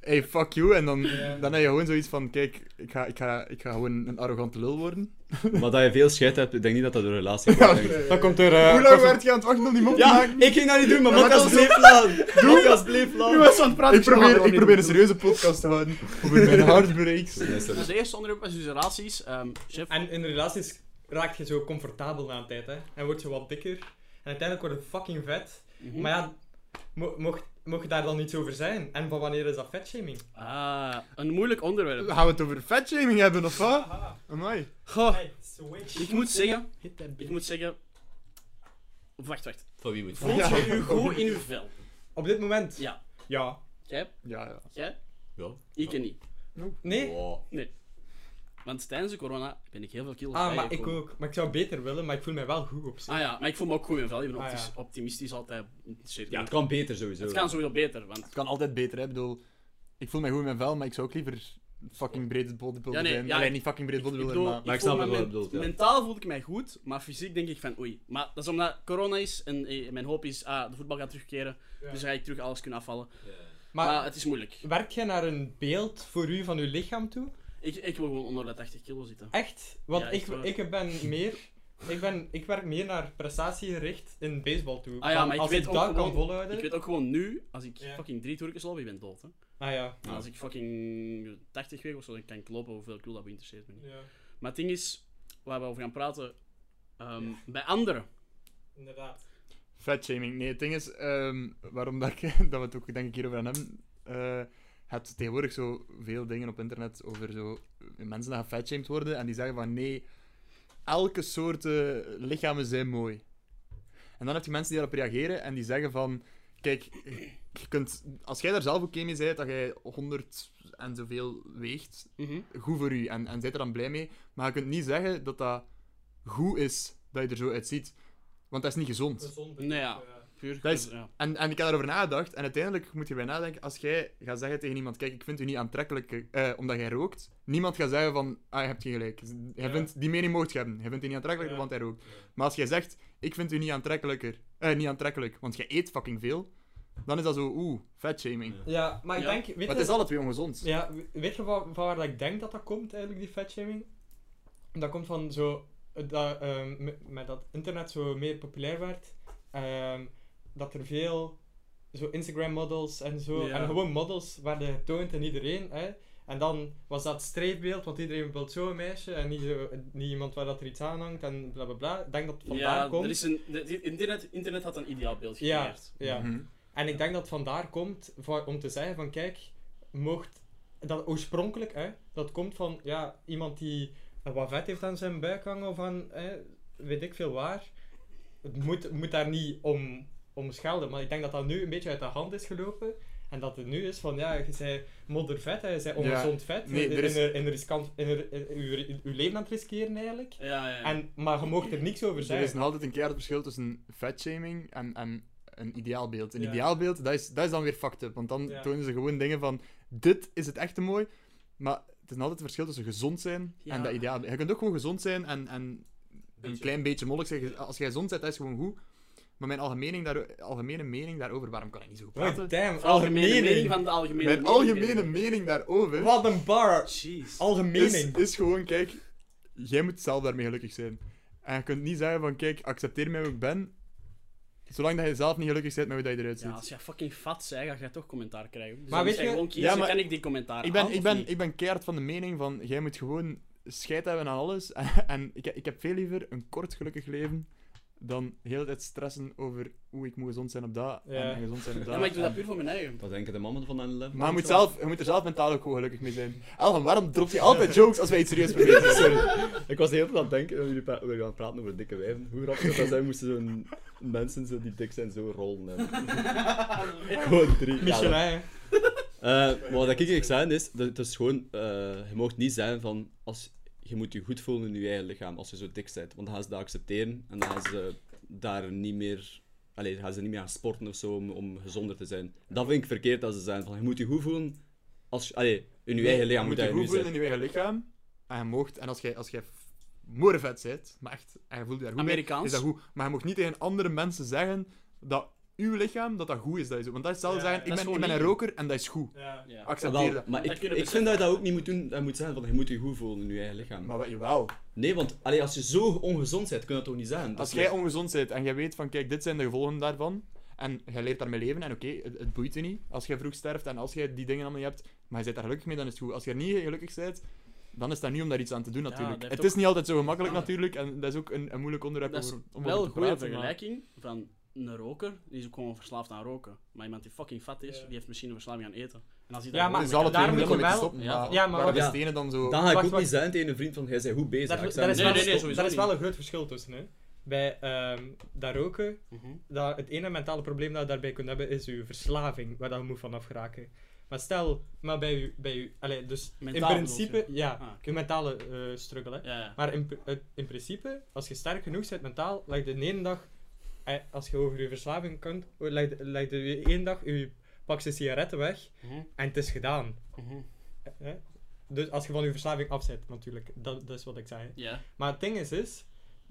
E: hey fuck you, en dan,
D: Ja.
E: dan heb je gewoon zoiets van, kijk, ik ga, ik ga, ik ga gewoon een arrogante lul worden.
A: *laughs* Maar dat je veel scheid hebt, ik denk niet dat dat door
E: *laughs*
A: relatie
E: Ja,
A: komt.
E: nee.
D: Dan komt er... eh,
E: Hoe lang
D: kost-
E: werd je aan het wachten om die mop te
A: Ja,
E: maken?
A: ik ging dat niet doen, maar
E: Ja, maar
A: Lucas
E: dat
A: bleef laat. Lucas bleef
B: *laughs*
A: laat.
B: was aan het praten.
E: Ik probeer, ik probeer een serieuze podcast te houden over *laughs* mijn heartbreaks.
A: Nee, sorry.
B: Dus de eerste onderwerp was dus relaties. Ehm, chef.
D: En in relaties raak je zo comfortabel na een tijd, hè. En word je wat dikker. En uiteindelijk word je fucking vet.
B: Mhm.
D: Maar ja, mo- mocht, mocht je daar dan iets over zijn? En van wanneer is dat vetshaming?
B: Ah, een moeilijk onderwerp.
E: Gaan we het over fatshaming hebben of wat? Amai.
B: Goh,
D: Hey, switch.
B: Oh. ik moet zeggen...
D: Hit that
B: Ik
D: bitch.
B: moet zeggen... Wacht, wacht.
A: Van wie moet
B: Voelt je u goed in uw vel?
D: Op dit moment?
B: Ja.
D: Ja.
B: Jij?
E: Ja, ja.
B: Jij?
A: Ja.
B: Ik en niet.
D: Nee? Ah,
A: Wow.
B: Want tijdens de corona ben ik heel veel kilo's
D: Ah, maar ik
B: bijgekomen.
D: ook. Maar ik zou beter willen, maar ik voel mij wel goed op zich.
B: Ah ja, maar ik voel me ook goed in vel. Je bent
D: Ah, ja.
B: optis- optimistisch altijd.
A: Ja, het kan beter sowieso.
B: Het kan sowieso beter, want...
E: Het kan altijd beter, hè. Ik bedoel, ik voel mij goed in mijn vel, maar ik zou ook liever fucking breed bodybuilder
B: Ja, nee,
E: zijn.
B: ja,
E: Alleen
B: ik-
E: niet fucking breed
B: Ik
E: bodybuilder,
B: bedoel,
E: maar...
A: Maar ik
B: voel
A: snap
B: me
A: wat je
B: men-
A: bedoelt, ja.
B: Mentaal voelde ik mij goed, maar fysiek denk ik van oei. Maar dat is omdat corona is en eh, mijn hoop is, ah, de voetbal gaat terugkeren,
D: Ja.
B: dus ga ik terug alles kunnen afvallen. Maar,
D: Maar
B: ah, het is moeilijk.
D: werk jij naar een beeld voor u van uw lichaam toe?
B: Ik, ik wil gewoon onder de 80 kilo zitten.
D: Echt? Want
B: Ja,
D: ik,
B: echt waar.
D: ik ben meer... Ik, ben, ik werk meer naar prestatiegericht in baseball toe.
B: Ah ja,
D: Van,
B: maar ik
D: als
B: weet
D: ik
B: ook
D: dat
B: gewoon-
D: kan volhouden...
B: Ik weet ook gewoon nu, als ik
D: Ja.
B: fucking drie toerkens loop, ik ben dood. Hè.
D: Ah ja.
B: En Als ik fucking 80 weeg of zo, dan kan ik lopen hoeveel kilo dat me interesseert. me niet. Maar het ding is, waar we over gaan praten, ehm, bij anderen.
D: inderdaad.
E: Fatshaming. Nee, het ding is, ehm, waarom dat, ik- *laughs* dat we het ook denk ik hierover aan hebben, eh hebt tegenwoordig zo veel dingen op internet over zo mensen die fatshamed worden en die zeggen van nee, elke soort eh, lichamen zijn mooi. En dan heb je mensen die daarop reageren en die zeggen van kijk, je kunt, als jij daar zelf oké mee bent, dat jij 100 en zoveel weegt,
B: Mhm.
E: goed voor u en, en zijt er dan blij mee. Maar je kunt niet zeggen dat dat goed is dat je er zo uitziet, want dat is niet gezond.
B: Nou ja. Puur,
E: Dat is-
B: ja.
E: En, en ik heb daarover nagedacht. En uiteindelijk moet je bij nadenken. Als jij gaat zeggen tegen iemand: Kijk, ik vind u niet aantrekkelijk eh, omdat jij rookt. Niemand gaat zeggen: van, Ah, je hebt geen gelijk. Hij
D: Ja.
E: vindt, die mening mocht je hebben. Hij vindt u niet aantrekkelijk
D: Ja.
E: want hij rookt. Maar als jij zegt: Ik vind u niet, aantrekkelijker, eh, niet aantrekkelijk, want jij eet fucking veel. Dan is dat zo, oeh, fatshaming.
A: Ja.
D: Ja, maar ik
B: Ja.
D: denk... Weet
E: Maar
D: je,
E: het is alle twee ongezond.
D: ja, we- weet je wa- van, waar dat ik denk dat dat komt, eigenlijk, die fatshaming? Dat komt van zo... eh, Dat, ehm, met, met dat internet zo meer populair werd, ehm, dat er veel zo Instagram-models en zo,
B: Ja.
D: en gewoon models werden getoond aan iedereen, hè. En dan was dat streefbeeld, want iedereen wil zo'n meisje en niet, zo- niet iemand waar dat er iets aan hangt en bla bla bla. Ik denk dat het vandaar
B: Ja,
D: komt.
B: er is een, de- die- internet, internet had een ideaal beeld
D: Ja,
B: gecreëerd.
D: ja.
E: Mhm.
D: En ik denk dat het vandaar komt va- om te zeggen van kijk, mocht dat oorspronkelijk, hè, dat komt van ja, iemand die wat vet heeft aan zijn buik hangen of aan hè, weet ik veel waar. Het moet, moet daar niet om, om schelden, maar ik denk dat dat nu een beetje uit de hand is gelopen. En dat het nu is van ja, je zei moddervet, hè, je zei ongezond vet, Eh,
E: Nee, er
D: in,
E: is-
D: in, in riskant, in, in, uw- uw leven aan het riskeren eigenlijk.
B: Ja, ja, ja.
D: En, maar je mocht er niks over
E: Dus Er is
D: zeggen.
E: nog altijd een keer het verschil tussen fatshaming en, en een ideaalbeeld. Een
D: Ja.
E: ideaalbeeld, dat is, dat is dan weer fucked up. Want dan
D: Ja.
E: tonen ze gewoon dingen van, dit is het echte mooi. Maar het is nog altijd het verschil tussen gezond zijn
B: Ja.
E: en dat ideaalbeeld. Je kunt ook gewoon gezond zijn en, en een klein beetje mollig zijn. Als jij gezond bent, dat is gewoon goed. Maar mijn algemene, daar, algemene mening daarover, waarom kan ik niet zo goed praten?
D: Oh, damn,
B: algemene
D: algemeen.
B: mening van de algemene
E: mijn algemene mening daarover
D: Wat een bar!
B: Jeez.
E: is,
D: Algemeen.
E: is gewoon, kijk, jij moet zelf daarmee gelukkig zijn. En je kunt niet zeggen van, kijk, accepteer mij hoe ik ben. Zolang dat je zelf niet gelukkig bent met hoe dat je eruit
B: Ja,
E: ziet.
B: als jij fucking fat bent, ga jij toch commentaar krijgen. Dus dan
D: Maar weet
B: moet jij
D: je-
B: gewoon kiezen,
E: Ja, maar-
B: kan ik die commentaar
E: Ik
B: aan
E: ben,
B: of
E: ik, ben,
B: niet?
E: ik ben keihard van de mening van, jij moet gewoon scheid hebben aan alles. *laughs* En, ik, ik heb veel liever een kort gelukkig leven dan heel de tijd stressen over hoe ik moet gezond zijn op dat
D: Ja.
E: en gezond
B: *laughs*
E: zijn op dat.
B: Ja, maar ik doe dat
E: En-
B: puur voor mijn eigen.
A: Dat denken de mannen van 9-11.
E: maar je moet, zelf, je moet er zelf mentaal ook gewoon gelukkig mee zijn. Elvan, waarom dropt je altijd jokes als wij iets serieus proberen? Sorry.
A: Ik was de hele tijd aan het denken, eh, jullie pra- we gaan praten over dikke wijven. Hoe grappig zou dat zijn moesten zo'n mensen zo die dik zijn zo rollen hebben. Gewoon drie.
D: Michelin,
A: Ja,
D: hè.
A: dat- eh, wat ik eigenlijk zei is, dat het is gewoon, eh, je mag niet zijn van, als, je moet je goed voelen in je eigen lichaam als je zo dik bent. Want dan gaan ze dat accepteren en dan gaan ze daar niet meer, allee, dan gaan ze niet meer gaan sporten of zo om, om gezonder te zijn. Dat vind ik verkeerd als ze zijn van, je moet je goed voelen als, je- allee, in je eigen lichaam moet
E: je
A: dat je
E: goed
A: nu
E: voelen
A: zijn.
E: in je eigen lichaam. En je moogt, en als jij, als jij f- morevet bent, maar echt, en je voelt je daar goed bij,
B: Amerikaans.
E: is dat goed. Maar je mag niet tegen andere mensen zeggen dat uw lichaam, dat dat goed is. Dat je zo- want dat is hetzelfde
D: Ja,
E: zeggen,
B: dat
E: ik
B: is
E: ben, ik
B: gewoon
E: ben een
B: niet.
E: roker en dat is goed.
D: Ja.
B: Ja.
E: Accepteer
A: Wel,
E: dat.
A: maar
B: Dat
A: ik,
B: kunnen
A: ik vind dat je dat ook niet moet doen. Dat moet zijn van je moet je goed voelen in je eigen lichaam.
E: Maar wat- jawel.
A: Nee, want allee, als je zo ongezond bent, kun je dat toch niet zeggen? Dat
E: Als
A: is
E: jij
A: like-
E: ongezond bent en jij weet van, kijk, dit zijn de gevolgen daarvan, en jij leert daarmee leven, en oké, het, het boeit je niet als jij vroeg sterft en als jij die dingen allemaal niet hebt, maar je bent daar gelukkig mee, dan is het goed. Als je er niet gelukkig bent, dan is dat nu om daar iets aan te doen, natuurlijk.
B: dat heeft
E: het is
B: ook-
E: niet altijd zo gemakkelijk, natuurlijk, en dat is ook een, een moeilijk onderwerp
B: Dat is
E: over, om
B: Wel
E: over te
B: een goede
E: praten. maar-
B: vergelijking van een roker, die is ook gewoon verslaafd aan roken. Maar iemand die fucking fat is,
D: Ja.
B: die heeft misschien een verslaving aan eten. En als die
D: Ja,
B: daar
D: maar-
E: Het is alle twee
D: daar moet
E: moeilijk
D: je
E: om mee te
D: wel-
E: stoppen,
B: ja.
E: maar
D: Ja, maar
E: waar de
A: wacht.
E: stenen dan zo...
A: Dan ga ik
D: Wacht,
A: ook
D: wacht.
A: niet zeggen tegen een vriend van, jij bent goed bezig.
D: Daar,
A: Ik
D: daar
A: zou
D: is
A: hem zeggen,
D: wel,
B: nee, nee, sowieso
D: daar is wel
B: niet.
D: een groot verschil tussen. Hè. Bij ehm dat roken,
B: Mhm.
D: dat het ene mentale probleem dat je daarbij kunt hebben, is je verslaving, waar dat je moet vanaf geraken. Maar stel, maar bij je, bij je allee, dus
B: Mentaal
D: in
B: bedoel
D: principe,
B: je?
D: ja,
B: Ah, oké.
D: je mentale eh, struggle. Hè.
B: Ja, ja.
D: Maar in, pr- het- in principe, als je sterk genoeg bent mentaal, leg je de ene dag, eh, als je over je verslaving kunt, eh, leg je- leg je de één dag je pakje sigaretten weg
B: Mhm,
D: en het is gedaan.
B: mhm.
D: Hè? Dus als je van je verslaving afzet, natuurlijk, dat, dat is wat ik zei. hè.
B: Ja,
D: Maar het ding is, is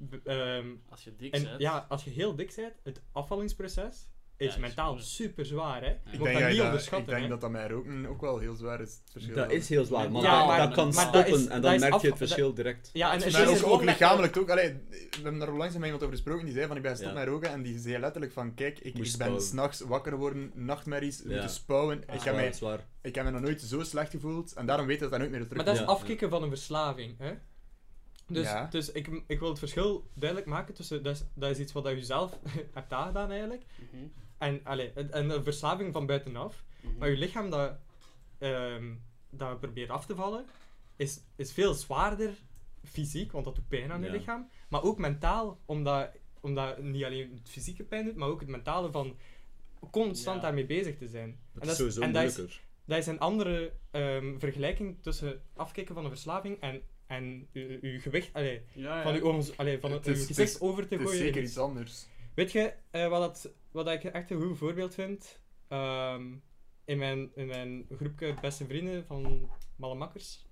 D: b- ehm,
B: als je dik
D: en,
B: bent.
D: ja, als je heel dik bent, het afvallingsproces is
B: Ja, is
D: mentaal
B: zwaar.
D: super zwaar. Hè? Je
E: Ik
B: Ik
D: moet
E: denk,
D: dat
E: dat,
D: niet
E: dat- ik
D: onderschatten.
E: denk
D: hè.
E: dat dat mij roken ook wel heel zwaar is. Het verschil
A: Dat is heel zwaar, maar,
D: Ja,
A: dat-
D: maar-
A: dat kan
D: maar dat
A: stoppen
D: is-
A: en
D: dat
A: dan
D: is
A: merk
D: af-
A: je het
D: dat-
A: verschil direct.
D: Ja, en
B: Maar
D: het
E: Maar
B: ook-
D: is dus
E: ook,
B: het
E: ook
B: gewoon met-
E: lichamelijk ook. Allee, we hebben daar onlangs met iemand over gesproken die zei van ik ben gestopt
A: Ja.
E: met roken en die zei letterlijk van kijk, ik,
A: Moest
E: ik ben
A: spouwen.
E: s'nachts wakker geworden, nachtmerries,
A: Ja.
E: moeten spouwen.
D: Ah.
E: Ik,
A: Ja,
E: heb mij,
A: dat is waar.
E: ik heb me nog nooit zo slecht gevoeld en daarom weet ik dat dat nooit meer terug
D: Maar dat is
A: Ja.
D: afkicken van een verslaving. Hè? Dus,
E: Ja.
D: dus ik, ik wil het verschil duidelijk maken tussen, dat is, dat is iets wat je zelf *laughs* hebt aangedaan eigenlijk,
B: Mhm,
D: en, allee, en en een verslaving van buitenaf.
B: mhm.
D: Maar je lichaam dat, ehm, dat probeert af te vallen, is, is veel zwaarder fysiek, want dat doet pijn aan je
A: Ja.
D: lichaam. Maar ook mentaal, omdat, omdat niet alleen het fysieke pijn doet, maar ook het mentale van constant
B: Ja.
D: daarmee bezig te zijn.
A: Dat is sowieso
D: en dat is,
A: moeilijker.
D: dat is een andere ehm, vergelijking tussen afkicken van een verslaving en, en je, je gewicht, allee,
B: Ja, ja.
D: van, je, ogen- allee, van
E: Het
D: je
E: is- het
D: gezicht
E: is-
D: over te
E: Het is
D: gooien. in
E: zeker
D: iets.
E: iets anders.
D: Weet je eh, wat, dat, wat dat ik echt een goed voorbeeld vind? Ehm, in, mijn, in mijn groepje beste vrienden van Malamakkers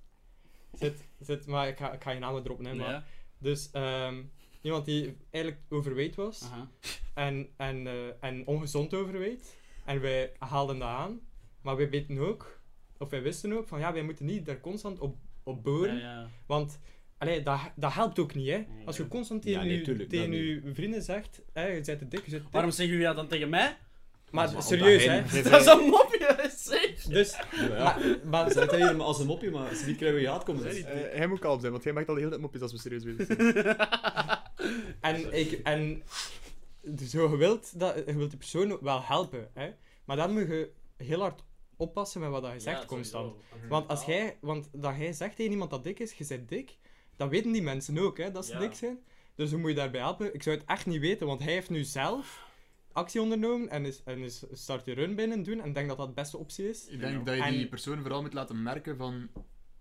D: zit, zit maar ik ga, ik ga je namen erop nemen.
B: Ja,
D: Dus ehm, iemand die eigenlijk overweight was
B: aha.
D: en, en, eh, en ongezond overweight. En wij haalden dat aan, maar wij weten ook, of wij wisten ook, van ja, wij moeten niet daar constant op, op
B: Ja,
D: boren.
B: ja.
D: Want allee, dat, dat helpt ook niet, hè.
B: Nee,
D: Als je
B: dat-
D: constant tegen,
A: Ja, nee,
D: je-
A: tuurlijk,
D: tegen
A: dat
D: je vrienden zegt, hè, je bent te dik, je bent te dik.
B: Waarom zeggen jullie dat dan tegen mij?
D: Maar
A: Ja,
D: serieus,
A: omdat
D: hè?
A: hij-
B: Dat is een mopje, *laughs* zeg!
D: Dus,
A: Ja, ja.
D: *laughs* maar, maar,
A: Zet hij hier als een mopje, maar als ze niet krijgen we je haat komen.
E: Eh, hij moet kalm zijn, want hij maakt al de hele tijd mopjes als we serieus bezig zijn.
D: en ik, en zo, je wilt, dat, je wilt die persoon wel helpen, hè? Maar dan moet je heel hard oppassen met wat dat je zegt constant.
B: Mhm.
D: Want als jij, want dat jij zegt tegen iemand dat dik is, je bent dik, dat weten die mensen ook, hè, dat ze
B: Ja.
D: dik zijn. Dus hoe moet je daarbij helpen? Ik zou het echt niet weten, want hij heeft nu zelf actie ondernomen en is, en is start je run binnen doen en ik denk dat dat de beste optie is.
E: Ik denk dat je
D: En-
E: die persoon vooral moet laten merken van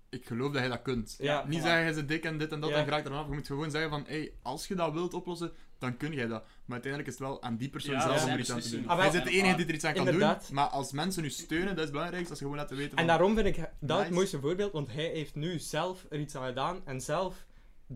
E: ik geloof dat jij dat kunt.
D: Ja,
E: Niet
D: voilà.
E: zeggen, hij is dik en dit en dat,
D: Ja.
E: en geraakt ervan af. Je moet gewoon zeggen van, hey, als je dat wilt oplossen, dan kun jij dat. Maar uiteindelijk is het wel aan die persoon
B: Ja,
E: zelf
B: ja,
E: om er
B: zijn
E: iets aan te doen.
B: beslissing.
D: Ah, wel,
E: Hij is de enige die er iets aan kan
D: inderdaad.
E: doen. Maar als mensen nu steunen, dat is het belangrijkste. Als je gewoon laten weten van...
D: En daarom vind ik dat het
E: Nice.
D: mooiste voorbeeld, want hij heeft nu zelf er iets aan gedaan en zelf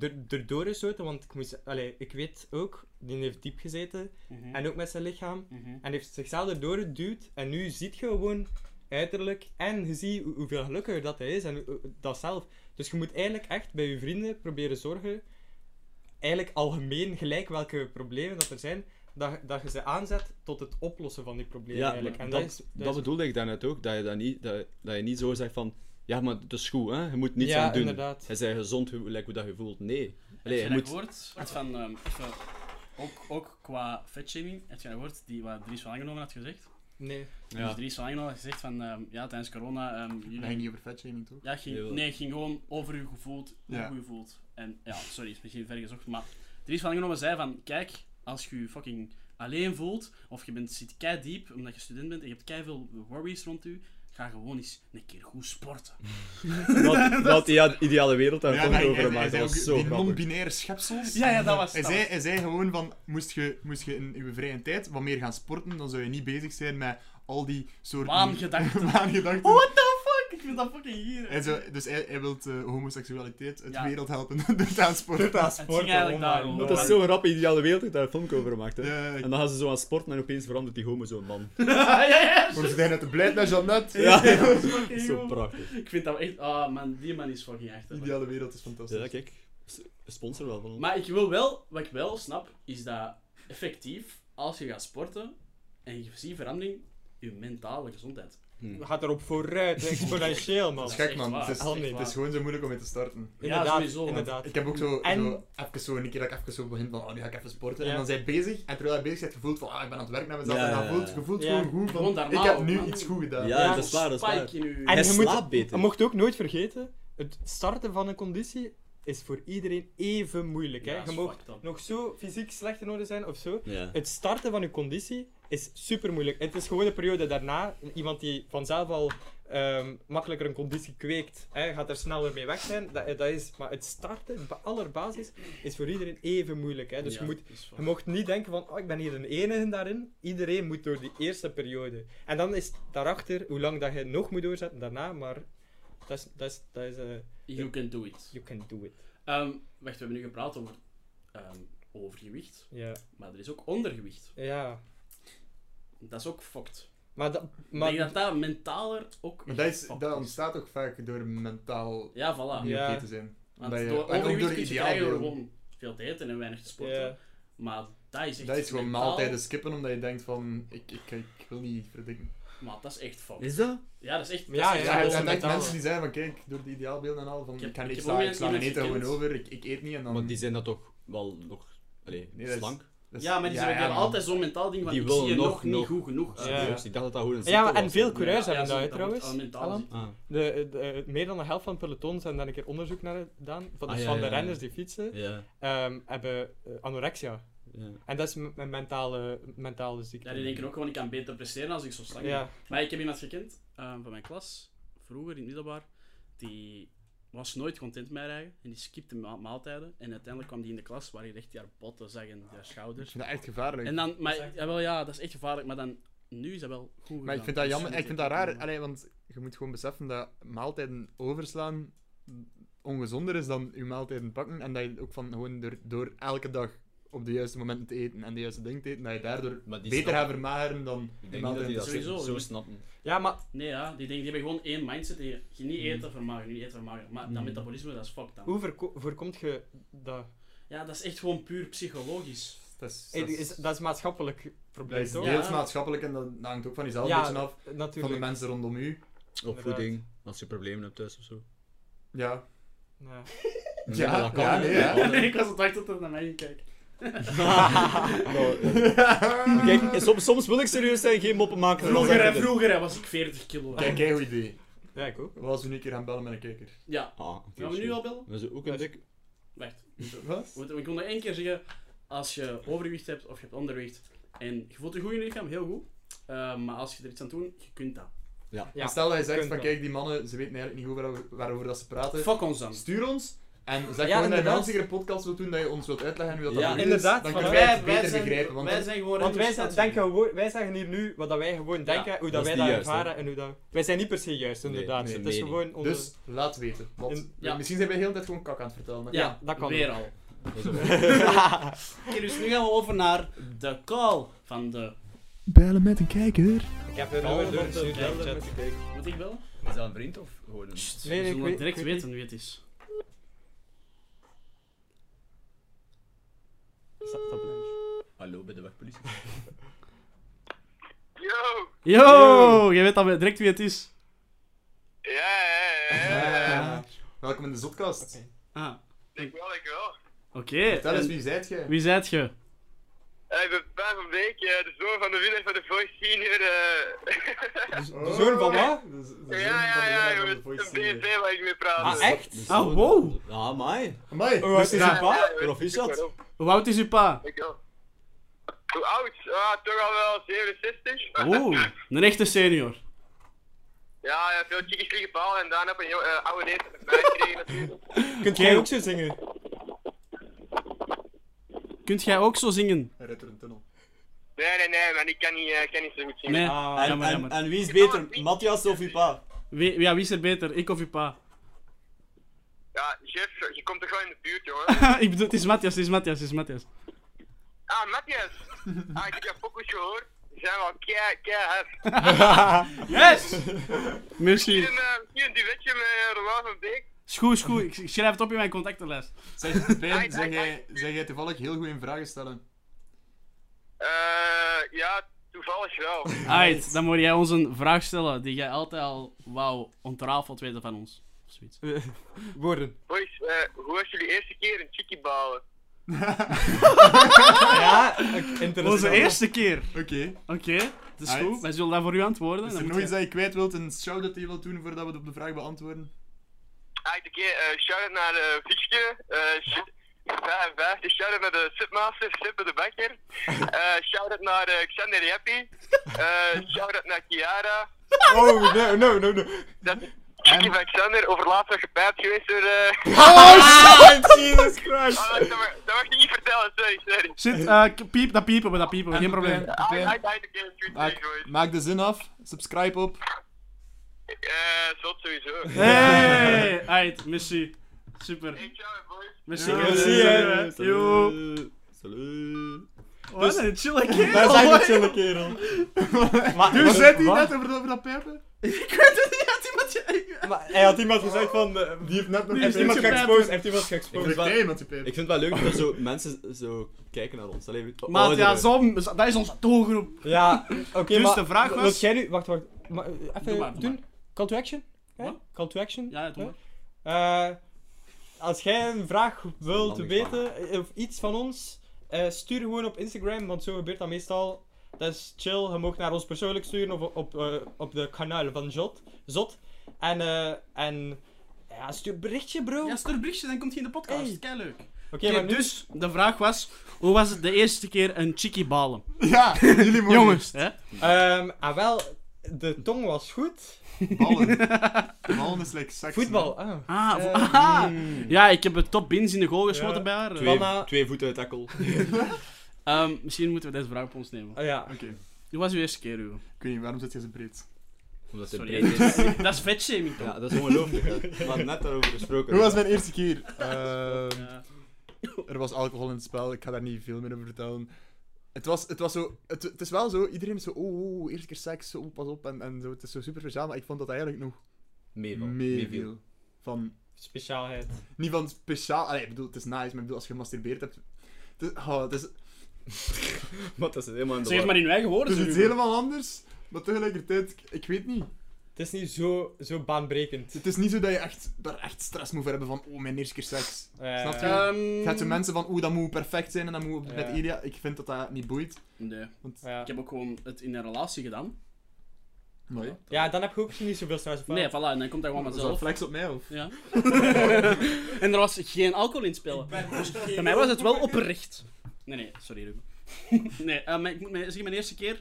D: er- erdoor gestoten, want ik, moest, allee, ik weet ook, die heeft diep gezeten
B: Mhm.
D: en ook met zijn lichaam en heeft zichzelf erdoor geduwd en nu ziet je gewoon uiterlijk en je ziet hoe- hoeveel gelukkiger dat hij is en hoe- hoe- dat zelf. Dus je moet eigenlijk echt bij je vrienden proberen zorgen, eigenlijk algemeen gelijk welke problemen dat er zijn, dat, dat je ze aanzet tot het oplossen van die problemen
A: Ja,
D: eigenlijk. En
A: dat,
D: dat, is, dat,
A: dat
D: is-
A: bedoelde ik daarnet ook. Dat je, dat, niet, dat, dat je niet zo zegt van... Ja, maar het is goed, hè? je moet niets
D: Ja,
A: aan doen.
D: inderdaad.
A: Hij zei gezond, hoe, like, hoe dat je voelt. Nee.
B: Heb
A: Allee,
B: je
A: je
B: dat
A: moet...
B: gehoord? Wat Van, ehm, even- ook, ook qua vetshaming, heb je dat gehoord die wat Dries van Aangenomen had gezegd?
D: Nee.
A: Ja.
B: Dus Dries van Aangenomen had gezegd van, ehm, ja, tijdens corona... ehm, jullie-
E: Dat ging niet over vetshaming, toch?
B: ja, ging,
A: Jawel.
B: nee, ging gewoon over hoe je voelt, hoe
E: Ja.
B: je voelt. En ja, sorry, is misschien ver gezocht, maar Dries van Aangenomen zei van, kijk, als je je fucking alleen voelt, of je bent, zit kei diep, omdat je student bent en je hebt kei veel worries rond je, ga gewoon eens een keer goed sporten.
A: Dat, dat die ideale wereld daar
E: Ja,
A: komt
E: maar hij-
A: over
E: hij-
A: gemaakt.
E: hij zei
A: Dat was
E: ook
A: zo
E: die
A: grappig.
E: non-binaire schepsels.
B: Ja, ja, dat was
E: Hij
B: dat
E: zei,
B: was-
E: hij zei gewoon van, moest je, moest je in je vrije tijd wat meer gaan sporten, dan zou je niet bezig zijn met al die soorten... *laughs*
B: Waangedachten.
E: Waangedachten.
B: What the fuck? Ik vind dat fucking hier.
E: Hij zou- dus hij, hij wil homoseksualiteit uit
B: Ja.
E: de wereld helpen *laughs* door te aan sporten.
D: Doet aan
B: ging
D: sporten,
B: eigenlijk
D: oh my
B: daarom.
D: lord.
A: Dat is zo'n grappig ideale wereld dat daar een filmpje over maakt. Hè?
E: Ja, ik-
A: En dan gaan ze zo aan sporten en opeens verandert die homo zo'n
E: *laughs*
A: man.
B: *laughs* ja, ja,
E: Voor ze zijn uit de blijd naar Jeannette.
A: Ja,
B: dat is fucking
A: zo
B: goed.
A: prachtig.
B: Ik vind dat echt... Ah, man, die man is fucking echt. hè.
E: Ideale wereld is fantastisch.
A: Ja, kijk. S- Sponsor wel van ons.
B: Maar ik wil wel... Wat ik wel snap, is dat effectief, als je gaat sporten, en je ziet verandering, je mentale gezondheid.
D: Gaat erop vooruit, hè, exponentieel, man.
E: Dat is
B: Dat
E: gek,
B: is
E: man.
B: echt waar,
E: Het is,
B: dat is
E: het
B: echt
E: is
B: waar.
E: gewoon zo moeilijk om mee te starten.
D: Inderdaad,
B: sowieso, man.
D: inderdaad.
E: Ik heb ook zo,
D: En-
E: zo even zo, een keer dat ik even zo begin van, oh, nu ga ik even sporten.
D: Ja.
E: En dan zijn bezig, en terwijl hij bezig is, gevoeld van, ah, ik ben aan het werk naar mezelf.
A: Ja,
E: en
A: ja,
E: dan
A: ja.
E: voelt, je voelt
D: Ja.
E: gewoon goed
B: Gewoon
E: van,
B: daarna
E: ik heb
B: ook, oh.
E: nu
B: man.
E: iets goed gedaan.
A: Ja,
D: Ja,
A: dat is waar, dat is waar.
B: Spike in je...
A: Hij
D: En je moet-
A: slaapt
D: Je
A: beter.
D: mocht ook nooit vergeten, het starten van een conditie is voor iedereen even moeilijk.
B: Ja,
D: Hè?
B: dat
D: Je
B: is
D: mag
B: fucked up.
D: nog zo fysiek slecht in orde zijn of zo.
A: Ja.
D: Het starten van je conditie is super moeilijk. Het is gewoon de periode daarna. Iemand die vanzelf al ehm, makkelijker een conditie kweekt, hè, gaat er sneller mee weg zijn. Dat, dat is, maar het starten, ba- allerbasis, is voor iedereen even moeilijk. Hè? Dus
B: Ja,
D: je moet
B: is fucked.
D: je mocht niet denken van, oh, ik ben hier de enige daarin. Iedereen moet door die eerste periode. En dan is daarachter hoe lang dat je nog moet doorzetten daarna, maar dat is, dat is, dat is eh,
B: You can do it.
D: you can do it.
B: Ehm, wacht, we hebben nu gepraat over ehm, overgewicht.
D: Ja.
B: Maar er is ook ondergewicht.
D: Ja.
B: Dat is ook fucked.
D: Maar, dat,
B: Maar
D: maar
B: ik denk dat dat mentaler ook...
E: Maar dat,
B: echt
E: is,
B: fucked
E: dat ontstaat ook vaak door mentaal
B: Ja,
E: niet
B: voilà.
E: oké
D: Ja.
E: te zijn.
B: Want
E: Dat je-
B: door
E: en ook
B: overgewicht
E: door
B: kun je
E: ideaal
B: krijgen door
E: deel.
B: gewoon veel te eten en weinig te sporten.
D: ja.
B: Maar dat is echt...
E: Dat is gewoon
B: mentaal-
E: maaltijden skippen, omdat je denkt van, ik, ik, ik wil niet verdikken.
B: Maar dat is echt fucked.
A: Is dat?
B: Ja, dat is echt...
D: Ja,
B: dat is echt
E: Ja,
D: dat
E: en
D: is
E: dan
B: mentaal.
E: denk
D: mentaal.
E: mensen die zeggen van, kijk, door die ideaalbeelden en al, van,
B: Ik
E: ik,
B: heb-
E: ga
B: ik
E: niks
B: heb ook
E: slaan, ik
B: iemand-
E: sla mijn
B: iemand
E: eten gewoon
B: gekend.
E: over, ik, ik eet niet en dan...
A: Want die zijn dat toch wel nog allee,
E: Nee, dat is-
A: slank?
E: dat is-
B: Ja, maar die zijn
E: man.
B: altijd zo'n mentaal ding van,
A: Die
B: ik
A: wil
B: zie je nog,
A: nog-
B: niet
A: nog-
B: goed genoeg.
D: Ja.
A: Dus ik dacht dat dat gewoon een
D: Ja, maar
A: ziekte
D: en
A: was.
D: veel coureurs hebben dat,
B: zo-
D: hè,
B: wordt
D: trouwens.
B: al mentaal
D: Alan?
B: ziek.
A: Ah,
D: De, de, meer dan de helft van het peloton zijn daar een keer onderzoek naar gedaan. Van,
A: Ah,
D: dus
A: ja,
D: van
A: ja,
D: de
A: ja.
D: renners die fietsen,
A: ja.
D: ehm, hebben eh, anorexia.
A: ja.
D: En dat is m- een mentale, mentale ziekte.
B: Ja, die denken ook gewoon, ik kan beter presteren als ik zo slank ben.
D: Ja.
B: Maar ik heb iemand gekend eh, van mijn klas, vroeger in het middelbaar, die was nooit content met haar eigen en die skipte ma- maaltijden. En uiteindelijk kwam die in de klas waar hij echt haar botten zag en haar
E: Ik
B: schouders.
E: vind dat echt gevaarlijk.
B: En dan, maar ja, wel, ja, dat is echt gevaarlijk, maar dan, nu is dat wel goed
E: Maar ik
B: gedaan.
E: vind dat
B: Dus
E: jammer,
B: je
E: ik vind
B: moet
E: dat
B: echt-
E: raar, allee, want je moet gewoon beseffen dat maaltijden overslaan ongezonder is dan je maaltijden pakken en dat je ook van gewoon door, door elke dag op de juiste momenten te eten en de juiste dingen te eten, dat je daardoor
A: Maar die
E: beter
A: snappen-
E: gaat vermageren dan
A: Ik
E: je
A: denk niet dat
E: maaltijden
A: die dat
E: te
B: Sowieso,
A: zo
B: niet.
A: snappen.
D: Ja, maar
B: Nee, ja, die, denk, die hebben gewoon één mindset. Die, je niet
E: Hmm.
B: eten vermagen, niet eten vermagen. Maar dat metabolisme, dat is fucked dan.
D: hoe voorko- voorkomt je dat?
B: Ja, dat is echt gewoon puur psychologisch.
E: Dat is,
D: Eh,
E: dat is,
D: is- Dat is maatschappelijk
E: dat
D: probleem,
E: is
D: toch?
B: Ja.
E: deels maatschappelijk en dat hangt ook van jezelf
D: Ja,
E: een beetje af, van de
D: natuurlijk.
E: mensen rondom u.
A: Opvoeding, als je problemen hebt thuis of zo.
E: Ja.
D: Ja.
A: Ja, dat kan.
E: ja, nee,
A: *laughs*
E: ja.
B: *laughs* ik was aan het wachten tot er naar mij ging kijken.
A: Kijk, soms, soms wil ik serieus zijn, geen moppen maken.
B: Vroeger, hè, vroeger hè, was ik 40 kilo.
E: Kijk, kijk hoe idee.
D: Ja, ik ook.
E: Wat als we nu een keer gaan bellen met een kijker?
B: Ja.
A: Ah,
B: Gaan we nu al bellen?
A: Dat is ook een dik.
B: Wacht.
E: Wat?
B: Want Ik wil nog één keer zeggen, als je overgewicht hebt of je hebt ondergewicht en je voelt je goed in je lichaam, heel goed. Eh, maar als je er iets aan doet, je kunt dat.
D: Ja.
E: En stel dat je zegt
D: Kunt
E: van
D: wel.
E: kijk, die mannen, ze weten eigenlijk niet goed waarover, waarover dat ze praten.
B: Fuck ons dan.
E: Stuur ons en zeg
D: Ja,
E: gewoon dat je
D: inderdaad.
E: een zeker podcast wilt doen, dat je ons wilt uitleggen hoe dat,
A: Ja,
E: dat is.
D: inderdaad,
E: dus Dan
D: voilà.
E: kunnen wij
B: Wij-
E: het
B: wij
E: beter
B: zijn-
E: begrijpen. Want
B: wij zijn gewoon
D: Want wij, zijn,
B: representatie.
D: denken gewoon, wij zeggen hier nu wat dat wij gewoon denken, hoe
A: dat
D: dat
A: is
D: wij
A: niet
D: dat
A: juist, hè.
D: ervaren en hoe dat... Wij zijn niet per se juist,
A: Nee,
D: inderdaad.
A: nee,
D: het is
A: mening.
D: gewoon onze...
E: Dus laat weten. Want
D: In-
B: ja.
E: Misschien zijn wij de hele tijd gewoon kak aan het vertellen. hè.
B: Ja,
D: Ja, dat kan
B: Weer
D: ook.
B: al. Oké, dus nu gaan we over naar de call van de...
E: Bellen met een kijker.
D: Ik heb een
A: nummer
D: nummer
A: doorgestuurd,
D: doorgestuurd
B: ja,
D: chat.
B: Moet ik bellen?
A: *laughs* Is dat een vriend of gewoon een...
D: nee,
B: we
D: ik
B: zullen
D: weet-
B: direct
D: ik weet
B: weten wie het is.
D: Is dat- dat blijft.
A: Hallo, bij de wegpolitie.
F: Yo!
B: Yo, jij weet dan direct wie het is.
F: Ja, ja, ja.
E: Eh, welkom in de zotkast.
D: Oké.
B: Ah,
F: Dankjewel, dankjewel.
B: oké.
E: Vertel eens,
B: en
E: wie zijt jij?
B: Wie zijt je?
F: Eh, ik ben Pijn van Beek, eh, de zoon van de winnaar van de Voice Senior. eh. *laughs*
E: Oh.
D: zoon van wat?
E: De z- de zoon
F: ja,
E: van
F: ja,
E: de
F: ja,
E: winnaar van de
F: jongens.
E: Voice
F: Een
E: Senior.
F: BNT waar ik mee praat.
B: Ah,
F: dus.
B: echt?
A: Dus-
B: Ah, wow.
A: Ah, amai.
E: Amai,
D: Oh,
E: dus
D: het is
E: ja,
D: een
F: Ja,
D: pa?
F: ja,
A: Proficiat.
F: ik weet het,
B: Hoe oud is uw pa?
F: ik wel. Hoe oud? Ah, toch al wel 67.
B: Oeh, een echte senior.
F: *laughs* Ja, ja, veel chickies liggen bal en daarna heb een jong- eh, oude neef met mij
E: *laughs*
F: gekregen natuurlijk.
D: Kunt jij ook zo zingen?
B: Kunt jij ook zo zingen?
E: Hij rijdt door een tunnel.
F: Nee, nee, nee, maar ik kan niet, eh, ik kan niet zo goed zingen.
B: Nee,
D: Ah,
C: En,
B: jammer,
C: en-
B: jammer.
C: en wie is beter, Matthias of uw pa?
B: Wie, ja, wie is er beter? Ik of uw pa? *laughs*
F: Ja, Jeff, je komt toch wel in de buurt, jongen.
E: *laughs*
B: ik bedoel, het is Matthias, het is Matthias, het is Matthias.
F: Ah, Matthias! Ah, ik heb jouw focus gehoord. Ze zijn wel kei, kei hard.
B: Yes! Merci.
F: Hier een, eh, hier een duetje met eh, Romain van Beek.
B: Is goed, is goed. Ik ik schrijf het op in mijn contactenlijst.
E: Zeg, Ben,
F: Ai,
E: zeg
F: ai,
E: jij, zeg jij toevallig heel goed in vragen stellen?
F: Eh, ja, toevallig
D: *laughs*
F: wel.
B: Alright, dan moet jij ons een vraag stellen die jij altijd al wou ontrafeld weten van ons. Of zoiets.
D: Woorden.
F: Boys, eh, hoe was jullie eerste keer een chickie bouwen?
D: Ja, ik- interessant.
B: Onze eerste keer.
E: Oké.
B: Oké, het is
E: Alright.
B: goed. Wij zullen dat voor u antwoorden.
E: Is
B: Dan
E: er
B: moet
E: nog iets
B: je-
E: dat je kwijt wilt, een shout-out die je wilt doen voordat we het op de vraag beantwoorden?
F: Ah, oké, eh shout-out naar eh Fietske. eh, sh- vijf- Vijfde shout-out naar de Submaster, Sippe de
D: *laughs*
F: Bakker. Eh shout-out naar eh, Xander Jeppy. Eh shout-out naar Kiara.
D: Oh, no, no, no, no.
F: Dat chickie van Xander, overlaatst was gepijpt geweest door... eh
D: Oh,
F: *laughs*
D: Jesus Christ.
F: Ah, dat mag- dat mag ik niet vertellen, sorry, sorry.
B: Shit, eh, k- piep, dat piepen we, dat piepen we. Geen probleem.
F: Ah, ah, ah, oké, oké, oké,
E: Maak,
F: boys.
E: maak de zin af, subscribe op.
F: Eh, zot sowieso.
B: Hey! Alright, merci. Super.
F: Hey, ciao, boys.
B: Merci. eh.
E: Yo,
D: merci, hè.
B: Yo.
A: Salut.
B: Wat een chille *laughs* kerel.
D: Dat is echt een chille kerel.
A: *laughs*
D: Maar,
E: Nu
D: wat-
E: zet hij
D: wat?
E: net over, dat- over dat pijpen.
B: Ik weet het niet, had iemand je...
D: Maar hij had iemand gezegd van... eh,
E: Die heeft net nog
D: heeft
B: is
D: iemand
B: niet zo
D: geëxposed, heeft iemand geëxposed.
E: Ik nee, met die pijpen.
A: Ik vind het wel leuk dat er zo mensen zo kijken naar ons. Allee, we- oh,
B: Maat, ja,
A: ouderen.
B: zo, dat is onze doelgroep. *laughs*
D: Ja, oké,
B: Dus
D: maar...
B: de vraag
D: wil-
B: was-
D: Wilt jij nu... Wacht, wacht. Maar, eh, even
B: Doe maar, doe
D: doen. Call to action? hè?
B: Wat?
D: Call to action?
B: Ja, doe maar.
D: Eh, als jij een vraag wilt
A: handig
D: weten, eh, of iets van ons, eh, stuur gewoon op Instagram, want zo gebeurt dat meestal. Dat is chill, je mag naar ons persoonlijk sturen of op, eh, op de kanaal van Zot. Zot. En, eh, en ja, stuur een berichtje, bro.
B: Ja, stuur een berichtje, dan komt hij in de podcast.
D: Hey.
B: Kei leuk.
D: Oké,
B: Oké,
D: maar nu...
B: dus de vraag was: hoe was het de eerste keer een chickie balen?
E: Ja, *laughs* jullie mogen.
B: Jongens, hè?
D: ehm, ah, wel, de tong was goed.
E: Ballen. *laughs* Ballen is like seks.
D: Voetbal, ah.
B: Ah,
D: Eh,
B: aha. ja, ik heb een top bins in de goal geschoten
D: Ja.
B: bij haar.
A: Twee,
D: Wanna-
A: twee voeten uit tackle.
B: Ehm, misschien moeten we deze vraag op ons nemen.
D: Ah, ja.
E: Oké.
B: Hoe was uw eerste keer, Hugo?
E: Ik weet niet, waarom zit je zo breed?
A: Omdat ze
B: Sorry,
A: breed is.
B: dat is- *laughs* dat is vetshaming toch?
A: *laughs* Ja, dat is ongelooflijk. hè. We hadden net daarover gesproken.
E: Hoe was mijn eerste keer? Ehm,
B: Ja.
E: er was alcohol in het spel, ik ga daar niet veel meer over vertellen. Het was, het was zo, het, het is wel zo, iedereen is zo, oh, oh, oh, eerste keer seks, oh, pas op, en, en zo, het is zo super speciaal, maar ik vond dat eigenlijk nog
A: Meeval. *laughs* Meeviel.
E: meeviel. Van,
D: Speciaalheid.
E: niet van speciaal, allee, ik bedoel, het is nice, maar ik bedoel, als je gemasturbeerd hebt, het is, oh, het is, het
A: Maar dat is helemaal in de
B: Zeg het
A: war.
B: maar in uw eigen woorden.
E: Dus is iets
B: Hugo.
E: helemaal anders, maar tegelijkertijd, ik, ik weet niet.
D: Het is niet zo, zo baanbrekend.
E: Het is niet zo dat je echt, daar echt stress moet voor hebben van, oh, mijn eerste keer seks.
D: Eh,
E: Snap je?
B: Ehm,
E: Gaat de mensen van, oeh, dat moet perfect zijn en dat moet op- met
D: Ja.
E: Ilia, ik vind dat dat niet boeit.
B: Nee.
E: Want,
D: ja.
B: Ik heb ook gewoon het in een relatie gedaan.
E: mooi.
D: Ja, dan heb je ook misschien niet zoveel stress. of wel?
B: Nee, voilà, en dan komt dat gewoon
E: Dat is wel
B: vanzelf.
E: flex op mij, of?
B: Ja. *laughs* en er was geen alcohol in het spel. Dus bij mij was het wel oprecht. Nee, nee, sorry Ruben. *laughs* nee, eh, maar ik moet zeggen, mijn eerste keer...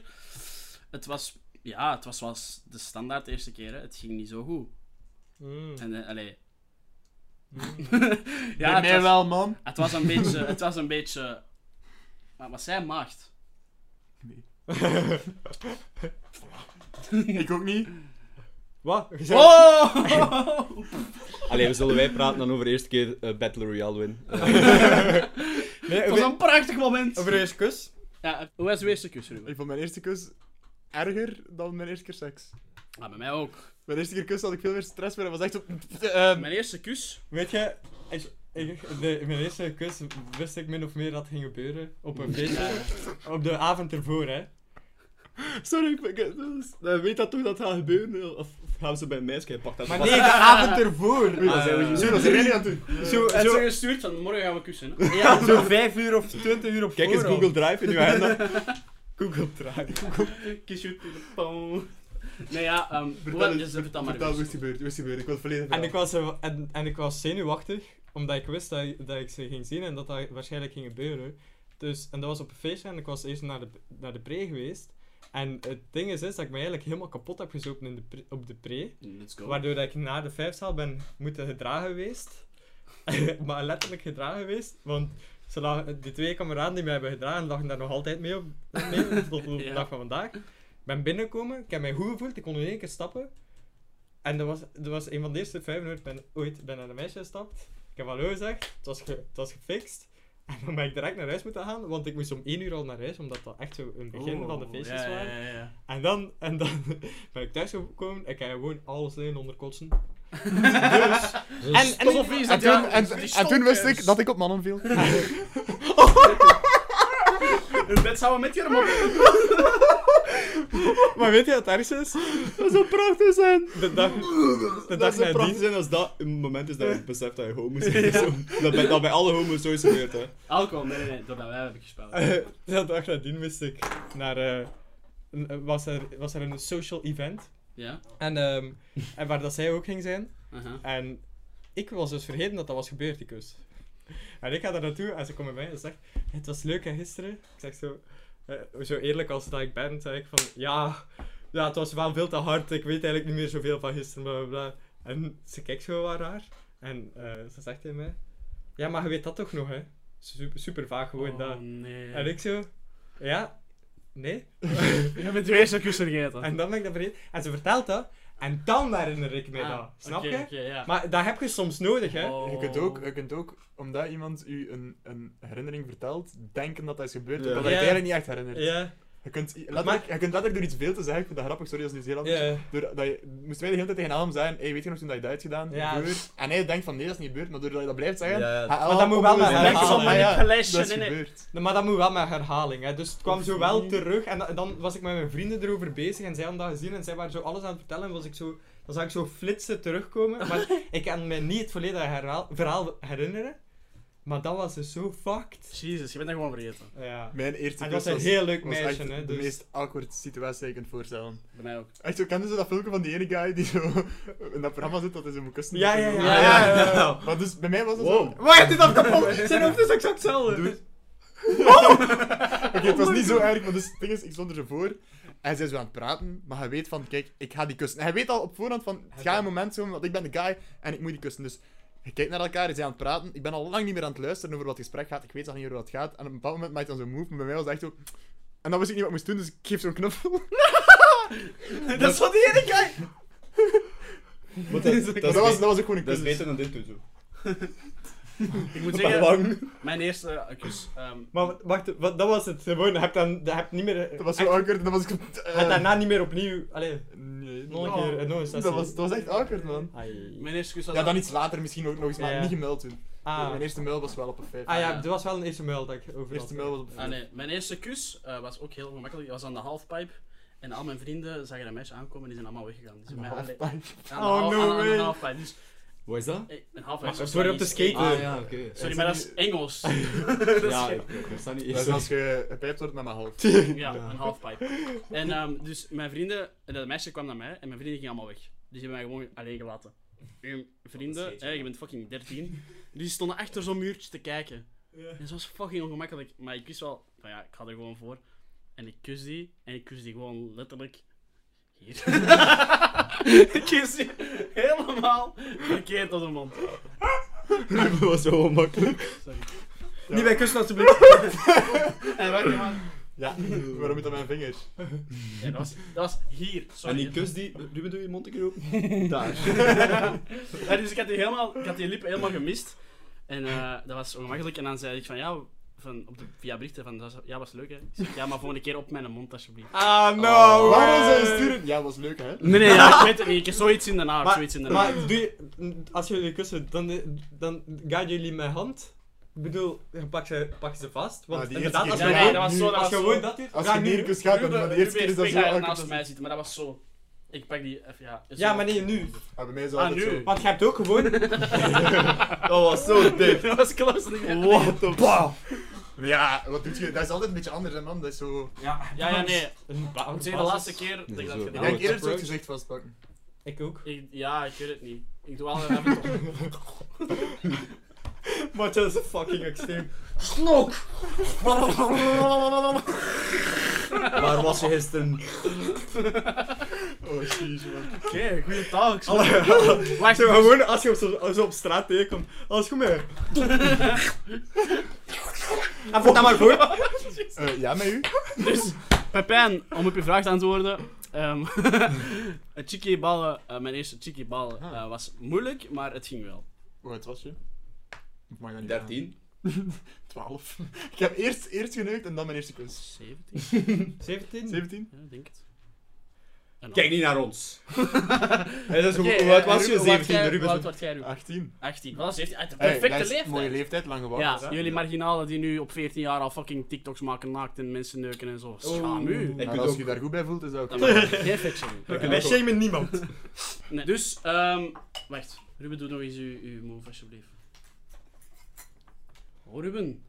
B: Het was... Ja, het was zoals de standaard eerste keer. Hè. Het ging niet zo goed.
D: Mm.
B: En, eh, allee... *laughs*
E: Ja,
B: ja, het was,
E: wel, man.
B: het was een beetje... Het was een beetje... Maar was zij maagd? *laughs*
E: ik ook niet.
D: Wat? Je zei-
B: Oh!
A: Allee, we zullen wij praten dan over de eerste keer eh, Battle Royale win. Eh,
D: Nee,
B: Het was
D: over-
B: een prachtig moment!
D: Over eerste kus?
B: Ja, hoe was uw eerste kus, Ruben?
E: Ik vond mijn eerste kus erger dan mijn eerste keer seks.
B: Ah, bij mij ook.
E: eh,
B: Ah,
E: Mijn eerste keer kus had ik veel meer stress, maar dat was echt zo... ehm,
B: Mijn eerste kus...
D: Weet je, als- ik- de- mijn eerste kus wist ik min of meer dat het ging gebeuren. Op een feestje. Op de avond ervoor, hè.
A: *laughs* Sorry, ik, ik, dat is- eh, weet dat toch dat gaat gebeuren? Of of gaan ze bij een meisje en pakt dat
D: Maar
A: vast?
D: nee, de *laughs* avond ervoor.
E: Ah. Zo, dat zijn wij niet aan het doen.
D: Zo,
B: Het is
D: zo,
B: gestuurd van morgen gaan we kussen.
E: *laughs*
B: hè.
D: ja, zo vijf uur of twintig uur op
A: Kijk eens
D: voorhand.
A: Google Drive in uw agenda. *laughs*
D: Google Drive.
B: Kies je telefoon. *laughs* Nee, ja, ehm,
E: Vertel
B: hoe-
E: eens,
B: dus, eh, vertel maar
E: Vertel, hoe
B: eens.
E: is die beurt? Hoe is die beurt? Ik wil het volledig
D: En ik,
E: verhaal.
D: was, eh, en, en ik was zenuwachtig, omdat ik wist dat, dat ik ze ging zien en dat dat waarschijnlijk ging gebeuren. Dus, en dat was op een feestje en ik was eerst naar de, naar de pre geweest. En het ding is, is dat ik me eigenlijk helemaal kapot heb gezopen in de pre- op de pre.
B: Let's go.
D: Waardoor dat ik na de vijfzaal ben moeten gedragen geweest. *laughs* maar letterlijk gedragen geweest, want ze lagen, die twee kameraden die mij hebben gedragen lagen daar nog altijd mee op.
B: *laughs*
D: Mee, tot op de
B: Ja.
D: dag van vandaag. Ik ben binnengekomen, ik heb mij goed gevoeld, ik kon in één keer stappen. En dat was, dat was een van de eerste vijf minuten ben, ooit ben naar een meisje gestapt. Ik heb hallo gezegd, het was, ge, het was gefixt. En dan ben ik direct naar huis moeten gaan, want ik moest om één uur al naar huis, omdat dat echt zo een begin van de
B: Oh,
D: feestjes
B: ja,
D: was.
B: Ja, ja, ja.
D: En dan, en dan *laughs* ben ik thuis gekomen, ik heb gewoon alles alleen
E: *laughs*
D: onderkotsen. dus, en, en,
B: Sophie is
E: En
B: dat
E: toen,
B: ja.
E: en,
B: die
E: en toen wist
B: stomkers.
E: ik dat ik op mannen viel.
B: In bed zouden we met je mogen.
D: maar weet je wat het ergste is?
E: *laughs* Dat zou prachtig zijn.
D: De dag, *laughs* de
A: Dat
D: dag
A: zou prachtig
D: nadien...
A: zijn als dat een moment is dat *laughs* je beseft dat je homo bent. Zo. Dat, bij, dat bij alle homo's zo is gebeurd, hè.
B: Alcohol, nee, nee, nee, doordat wij hebben gespeeld.
D: *laughs* De dag nadien wist ik naar... eh, een- was, er, was er een social event.
B: Ja,
D: En, ehm, en waar dat zij ook ging zijn.
B: aha.
D: En ik was dus vergeten dat dat was gebeurd, die kus. En ik ga daar naartoe en ze komt bij mij en zegt: Het was leuk hè, gisteren. Ik zeg zo, eh, zo eerlijk als dat ik ben, zeg ik van: ja, ja, het was wel veel te hard. Ik weet eigenlijk niet meer zoveel van gisteren. Bla, bla, bla." En ze kijkt zo wat raar. En eh, ze zegt tegen mij: Ja, maar je weet dat toch nog, hè? Super, super vaag gewoon
B: Oh,
D: dat.
B: nee.
D: En ik zo: Ja, nee.
B: Je bent weer zo'n kussen gegeten.
D: En dan ben ik dat vergeten. En ze vertelt dat. En dan herinner ik
B: Ah,
D: me dat. Snap je? Maar dat heb je soms nodig,
B: Oh,
D: hè?
E: Je kunt, ook, je kunt ook, omdat iemand u een, een herinnering vertelt, denken dat dat is gebeurd, terwijl dat
D: Ja.
E: je het eigenlijk niet echt herinnert.
D: Ja.
E: Je, kunt, i- letterlijk, je kunt letterlijk door iets veel te zeggen, ik vind dat grappig, sorry als het is heel anders.
D: Ja.
E: Door, dat je, moesten wij de hele tijd tegen Adam zeggen, hey, weet je nog toen dat je dat hebt gedaan?
D: Ja.
E: Gebeurd. En hij denkt van nee, dat is niet gebeurd, maar doordat je dat blijft zeggen, ah,
A: Ja, ja.
E: gaat
A: Maar
E: Adam
D: dat moet
E: ook
D: wel
E: weer
D: met
E: denken van, ah
D: herhaling.
E: ja,
B: Manipulation,
E: dat is
B: hè, nee.
E: gebeurd.
D: Nee, Maar dat moet wel met herhaling, hè. Dus het kwam zo wel terug. En da- dan was ik met mijn vrienden erover bezig en zij hadden dat gezien en zij waren zo alles aan het vertellen. En was ik zo, dan zag ik zo flitsen terugkomen. Maar *laughs* ik kan me niet het volledige herhaal- verhaal herinneren. Maar dat was dus zo fucked.
B: Jezus, je bent dat gewoon vergeten.
D: Ja.
E: Mijn eerste
D: En dat
E: kus
D: was een heel leuk
E: was
D: meisje,
E: echt de
D: hè, dus-
E: meest awkward situatie die je kunt voorstellen.
B: Bij mij ook.
E: Echt, zo kenden ze dat filmpje van die ene guy die zo *laughs* in dat programma zit dat hij zo moet kussen? Ah,
D: Ja, ja, ja.
E: Maar
D: ja, ja, ja.
E: dus bij mij was dat zo...
D: Wacht, dit op de pop! Zijn hoofd is exact hetzelfde. *laughs*
E: Doe het. Oké, *laughs* het was niet zo erg, maar dus, het ding is, ik stond er zo voor. En zij is zo aan het praten, maar hij weet van, kijk, ik ga die kussen. En hij weet al op voorhand van, het gaat een moment komen, want ik ben de guy en ik moet die kussen. Dus je kijkt naar elkaar, je bent aan het praten. Ik ben al lang niet meer aan het luisteren over wat het gesprek gaat. Ik weet al niet meer wat het gaat. En op een bepaald moment maakt hij dan zo'n move, maar bij mij was het echt zo... En dan wist ik niet wat ik moest doen, dus ik geef zo'n knuffel. *laughs*
B: Dat is wat die ene guy!
A: Want *laughs* dat, dat,
E: Dat,
A: is
E: was, dat
A: be-
E: was ook gewoon een
A: dat is
E: kus.
A: beter dan dit doen, zo.
E: *laughs*
B: Ik moet
A: Maar
B: zeggen,
A: lang.
B: mijn eerste eh, kus. ehm,
D: Maar wa- wacht, wat, dat was het. Gewoon, heb dan, heb niet meer...
E: Dat was zo awkward en dan was ik...
D: heb
E: eh,
D: daarna niet meer opnieuw... Allee,
E: Nee,
D: nog een
E: dat-
D: keer, eh, nog een
E: dat
D: sessie.
E: was, dat was echt awkward, man.
D: Ai.
B: mijn eerste kus was...
E: Ja, dan iets later misschien ook nog eens, maar
D: Ja.
E: niet gemeld toen.
D: Ah.
E: Mijn eerste mail was wel op een 5.
D: Ah
E: Mijn
D: ja, er was wel een eerste mail dat ik over
E: eerste
D: had.
E: mail was op een 5. *laughs*
B: Ah, nee. Mijn eerste kus eh, was ook heel gemakkelijk. Ik was aan de halfpipe. En al mijn vrienden zagen dat meisje aankomen en die zijn allemaal weggegaan. Die zijn mij- allee, aan de
E: Oh,
B: half-
E: no
B: aan- aan de
E: way.
B: halfpipe. Dus,
A: Wat is dat?
B: eh, een halfpipe is
D: sorry,
B: wel
D: op de
B: iets-
D: skater.
B: Ah,
A: Ah,
B: ja.
A: ja, oké.
B: Sorry, maar dat
D: *laughs*
B: is Engels. dat is
A: Ja,
B: geen-
A: ik ik versta niet.
E: Dat is
A: Sorry.
E: als je gepijpt wordt met mijn
A: *laughs*
E: half.
B: Ja, een halfpipe. En ehm, dus mijn vrienden, en dat meisje kwam naar mij en mijn vrienden gingen allemaal weg. Dus die hebben mij gewoon alleen gelaten. En vrienden, hè, je bent fucking 13, die stonden achter zo'n muurtje te kijken. En dat was fucking ongemakkelijk. Maar ik wist wel, van ja, ik ga er gewoon voor. En ik kus die, en ik kus die gewoon letterlijk. Hier. ik kus die helemaal verkeerd op de mond.
A: Dat was zo onmakkelijk.
D: Niet bij kussen alsjeblieft.
B: En wacht, man.
E: Ja, *laughs* waarom moet dat mijn vingers?
B: Ja, dat, was, dat was hier.
A: *laughs* En
B: Sorry.
A: die kus die... Ruben, doe je mond een keer open. Daar.
B: Ja, dus ik had die, helemaal, ik had die lip helemaal gemist. En eh, dat was ongemakkelijk. En dan zei ik van ja, van, op de, via berichten van dat was- ja, was leuk hè. Ik zeg, ja, maar volgende keer op mijn mond alsjeblieft.
A: Oh,
D: Ah, no.
E: Waarom zou je sturen? Ja, ja, was leuk, hè?
B: Nee, nee, ja, ik weet het niet. Ik heb zoiets in de naam.
D: Maar,
B: Zoiets in de
D: maar
B: naam.
D: doe je, als jullie kussen, dan, dan gaan jullie met hand. Ik bedoel, je pakt ze, pak je ze vast. Want
E: Ah, die
D: inderdaad, als
E: eerste
D: je
E: keer. Ja,
D: gewoon-
E: nee, dat was
B: zo, dat
D: als je
B: was
D: gewoon
B: zo.
D: dat doet,
E: Als
D: ja,
E: je
D: nu-
E: hier kust gaat, dan maar de eerste keer is dat zo
B: Ik
E: elke
B: naast
E: keer-
B: mij zitten, maar dat was zo. Ik pak die even, ja.
D: Ja, maar nee, nu.
E: Ah, bij mij is het
B: Ah,
E: altijd
B: nu.
E: zo.
D: Want je hebt ook gewoon
E: *laughs*
A: Dat was zo
B: *laughs* *laughs*
A: dik.
B: Dat was close. niet meer.
E: What the Ja, wat doet je? Dat is altijd een beetje anders, hè, man. Dat is zo...
B: Ja, ja, nee.
D: een
B: Het is de laatste keer dat ik dat
A: zo.
E: Ik
B: gedaan
E: denk
B: heb.
E: eerder zo
D: approach.
E: het gezicht vastpakken.
D: Ik ook.
B: Ik- Ja, ik weet het niet. Ik doe altijd even toch.
D: Maar dat is fucking extreem. *laughs*
A: Waar was je gisteren?
D: *laughs*
E: Oh, jeez, man.
B: *laughs* Oké, goede taal.
D: Wacht, maar gewoon als je op, zo- als je op straat tegenkomt. Alles goed mee. *laughs* En voelt dat maar goed.
E: Eh, ja, met u?
B: Dus, Pepijn, om op je vraag te antwoorden. ehm *laughs* chickie ballen, eh, mijn eerste chickie ballen
D: Ah.
B: eh, was moeilijk, maar het ging wel.
E: Hoe oud was je? Ik mag dat niet
A: 13.
E: 12. *laughs* Ik heb eerst, eerst geneukt en dan mijn eerste kus.
B: 17?
D: 17?
E: 17?
B: Ja, ik denk het. En
A: Kijk
B: dan-
A: niet naar ons.
D: Hey, dat is
B: Oké,
D: hoe hoe oud
B: eh,
D: was je?
B: Ruben, hoe oud
D: 17,
B: jij- Hoe
D: Ruben.
B: oud werd jij, Ruben?
E: 18.
B: 18. Wel 17. uit de
E: Hey,
B: Perfecte
E: dat is
B: leeftijd.
E: Mooie leeftijd, lang gewacht.
B: Ja, jullie marginalen die nu op 14 jaar al fucking TikToks maken naakt en mensen neuken en zo. Schaam u.
E: Maar
A: Ik weet
E: als
A: ook.
E: je je daar goed bij voelt, is dat oké.
B: Dat maakt Geen fiction.
D: Wij shamen *laughs* niemand.
B: Nee. Dus, ehm wacht. Ruben, doe nog eens uw, uw move, alsjeblieft. Oh, Ruben.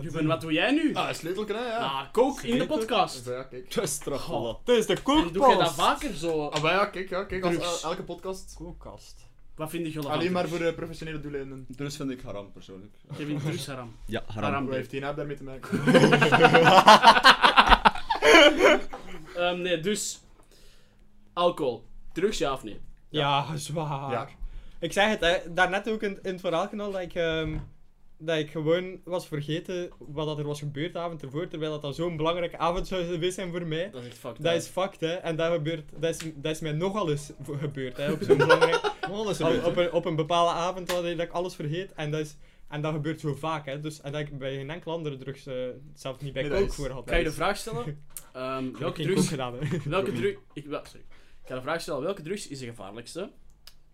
B: Ruben, wat doe jij nu?
E: Ah, sleutelkanaal, ja.
B: Ah, kook in de
E: Dus
B: podcast.
E: ja, kijk.
A: Dat is toch
B: Goh.
A: wel.
D: Het is de
B: En doe jij dat
D: kookpas.
B: vaker zo?
E: Ah, maar ja, kijk, ja, kijk. Als,
B: Drugs.
E: elke podcast.
D: Koelkast.
B: Wat vind je geloof
E: Alleen maar voor eh, professionele doeleinden.
A: Dus vind ik haram persoonlijk.
B: Kevin Drugs Haram.
E: *laughs*
A: Ja,
B: Haram.
E: Hoe
B: Oké.
E: heeft die naam daarmee te
B: *laughs*
E: maken?
B: Ehm, nee, dus. Alcohol. Drugs, ja of nee?
D: Ja, zwaar.
E: Ja.
D: Ik zei het hè, daarnet ook in, in het verhaal knal dat ik, ehm, dat ik gewoon was vergeten wat dat er was gebeurd de avond ervoor, terwijl dat, dat zo'n belangrijke avond zou geweest zijn voor mij.
B: Dat is echt fucked
D: Dat
B: up.
D: is fucked, hè. En dat, gebeurt, dat, is, dat is mij nogal eens vo- gebeurd, hè. Op zo'n belangrijke... op, op, een, op een bepaalde avond dat ik dat ik alles vergeet. En dat, is, en dat gebeurt zo vaak, hè. Dus, en dat ik bij geen enkele andere drugs eh, zelf niet bij
E: Nee, dat
D: coke
E: is-
D: voor had.
B: Ga je de
D: Dus
B: vraag stellen? Ehm,
D: ik heb
B: welke
D: geen
B: drugs
D: coke gedaan, hè.
B: Welke drugs... Ik, wel, sorry. ik ga de vraag stellen, welke drugs is de gevaarlijkste?